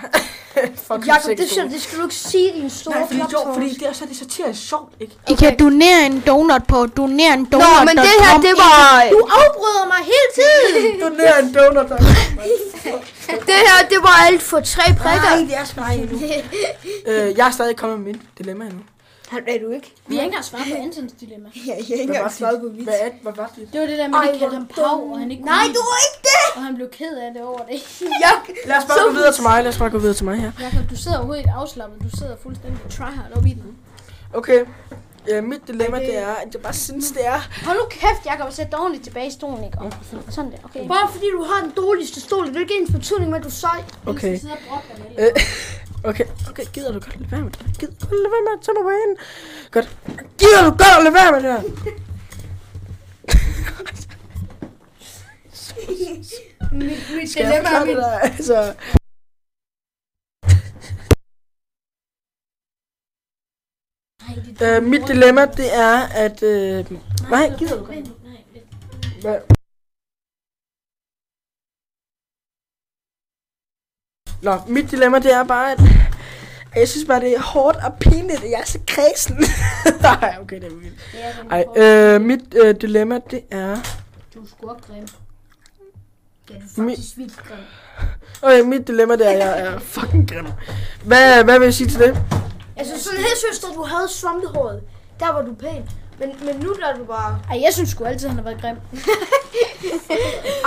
(laughs) Fuck,
Jakob, det, synes, jeg, det skal du ikke sige i en stor
Nej, fordi, jo,
klaptårs.
fordi det er, så er det satirisk sjovt, ikke?
I kan donere en donut på donere en donut.
Nå, men det her, det var...
Du afbryder mig hele tiden!
Donere en donut. Der.
Det her, det var alt for tre prikker.
det er sgu ikke endnu. øh, jeg er stadig kommet med mit dilemma endnu.
Nej, er du ikke?
Vi har ikke engang svaret (laughs) på Antons dilemma.
Ja, jeg har ikke
Hvad var
engang svaret på
dit?
mit.
Hvad er, hvad var dit?
Det var det der med, at de kaldte ham Pau, og han ikke kunne
Nej,
lide
du
det,
er ikke det!
Og han blev ked af det over det.
Jeg...
Lad os bare gå videre til mig. Lad os bare gå videre til mig her.
Jakob, du sidder overhovedet ikke afslappet. Du sidder fuldstændig tryhard op i den.
Okay. Ja, mit dilemma, det er, at jeg bare synes, det er...
Hold nu kæft, Jakob, sæt dig ordentligt tilbage i stolen, ikke? Og sådan der, okay.
Bare fordi du har den dårligste stol, det er ikke ens betydning med, at du er sej.
Okay.
Du sidder og brokker dig lidt.
Øh, (laughs) Okay, okay, gider du godt lade være med det? Gider du godt lade være med at tage mig på hende? Godt. Gider du godt lade være med det her?
Mit
Skal jeg forklare det der? Altså,
Nej, det er
øh, mit dilemma, det er, at... Øh, nej, gider du godt?
Vent nu, nej, vent.
Hvad? Nå, mit dilemma det er bare, at at jeg synes bare, det er hårdt og pinligt, at jeg er så kredsen. (laughs) Nej, okay, det er vildt.
Det er den
Ej,
form.
øh, mit øh, dilemma, det er...
Du er sgu også grim. Ja, du er
Mi-
faktisk vildt grim.
Okay, mit dilemma, det er, at jeg er fucking grim. Hvad, hvad vil jeg sige til det?
Altså sådan her søster, du havde svampehåret. Der var du pæn. Men, men nu der er du bare...
Ej, jeg synes sgu altid, han har været grim.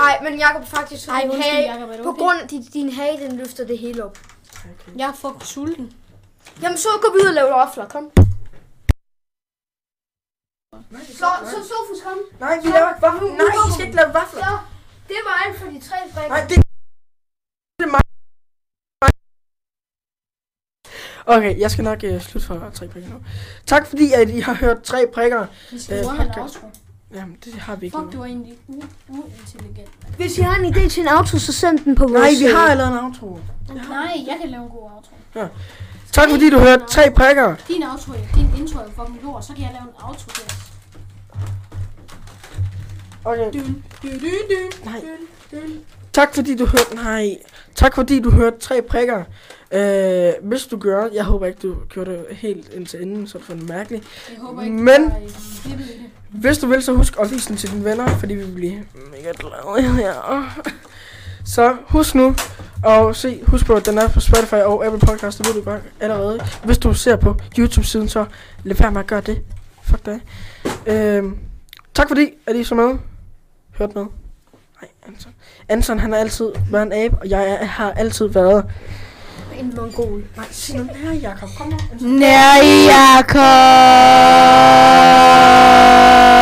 Ej, men Jakob faktisk...
Ej,
din
undskyld,
hage-
Jakob, er du
På
okay?
grund af din, din hage, den løfter det hele op.
Jeg er fucking sulten.
Jamen så gå vi ud og lave rafler, kom. Så, så Sofus, kom.
Nej, vi laver ikke vafler. Nej, I skal ikke lave vafler.
Så, det var alt for de tre brækker.
Nej, det, det er mig. Okay, jeg skal nok øh, slutte for tre prikker nu. Tak fordi, at I har hørt tre prikker.
Vi skal
Øh,
bruge med en
podcast.
outro.
Jamen, det har vi ikke.
Fuck,
nu.
du er egentlig u- uintelligent.
Hvis I har en idé til en auto, så send den på
Nej, vi har allerede en outro.
Nej, jeg kan lave en god outro.
Tak fordi du hørte tre prikker.
Din outro, din intro er fucking lort, så kan jeg lave en outro der.
Okay.
Dyn, dyn, dyn, dyn.
Nej. Tak fordi du hørte... Nej. Tak fordi du hørte tre prikker. Øh, hvis du gør... Jeg håber ikke, du gjorde det helt indtil enden, så for det mærkeligt.
Jeg håber ikke,
Men-
du har klippet i det.
Hvis du vil, så husk at vise den til dine venner, fordi vi bliver mega glade her. Så husk nu, og se, husk på, at den er på Spotify og Apple Podcast, det ved du godt allerede. Hvis du ser på YouTube-siden, så lad være med at gøre det. Fuck dig. Øhm, tak fordi, at I så med. Hørt med. Nej, Anton. Anton, han har altid været en abe, og jeg er, har altid været...
En mongol.
Nej, sig nu, nej, Jacob, kom nu.
Nej, Jakob!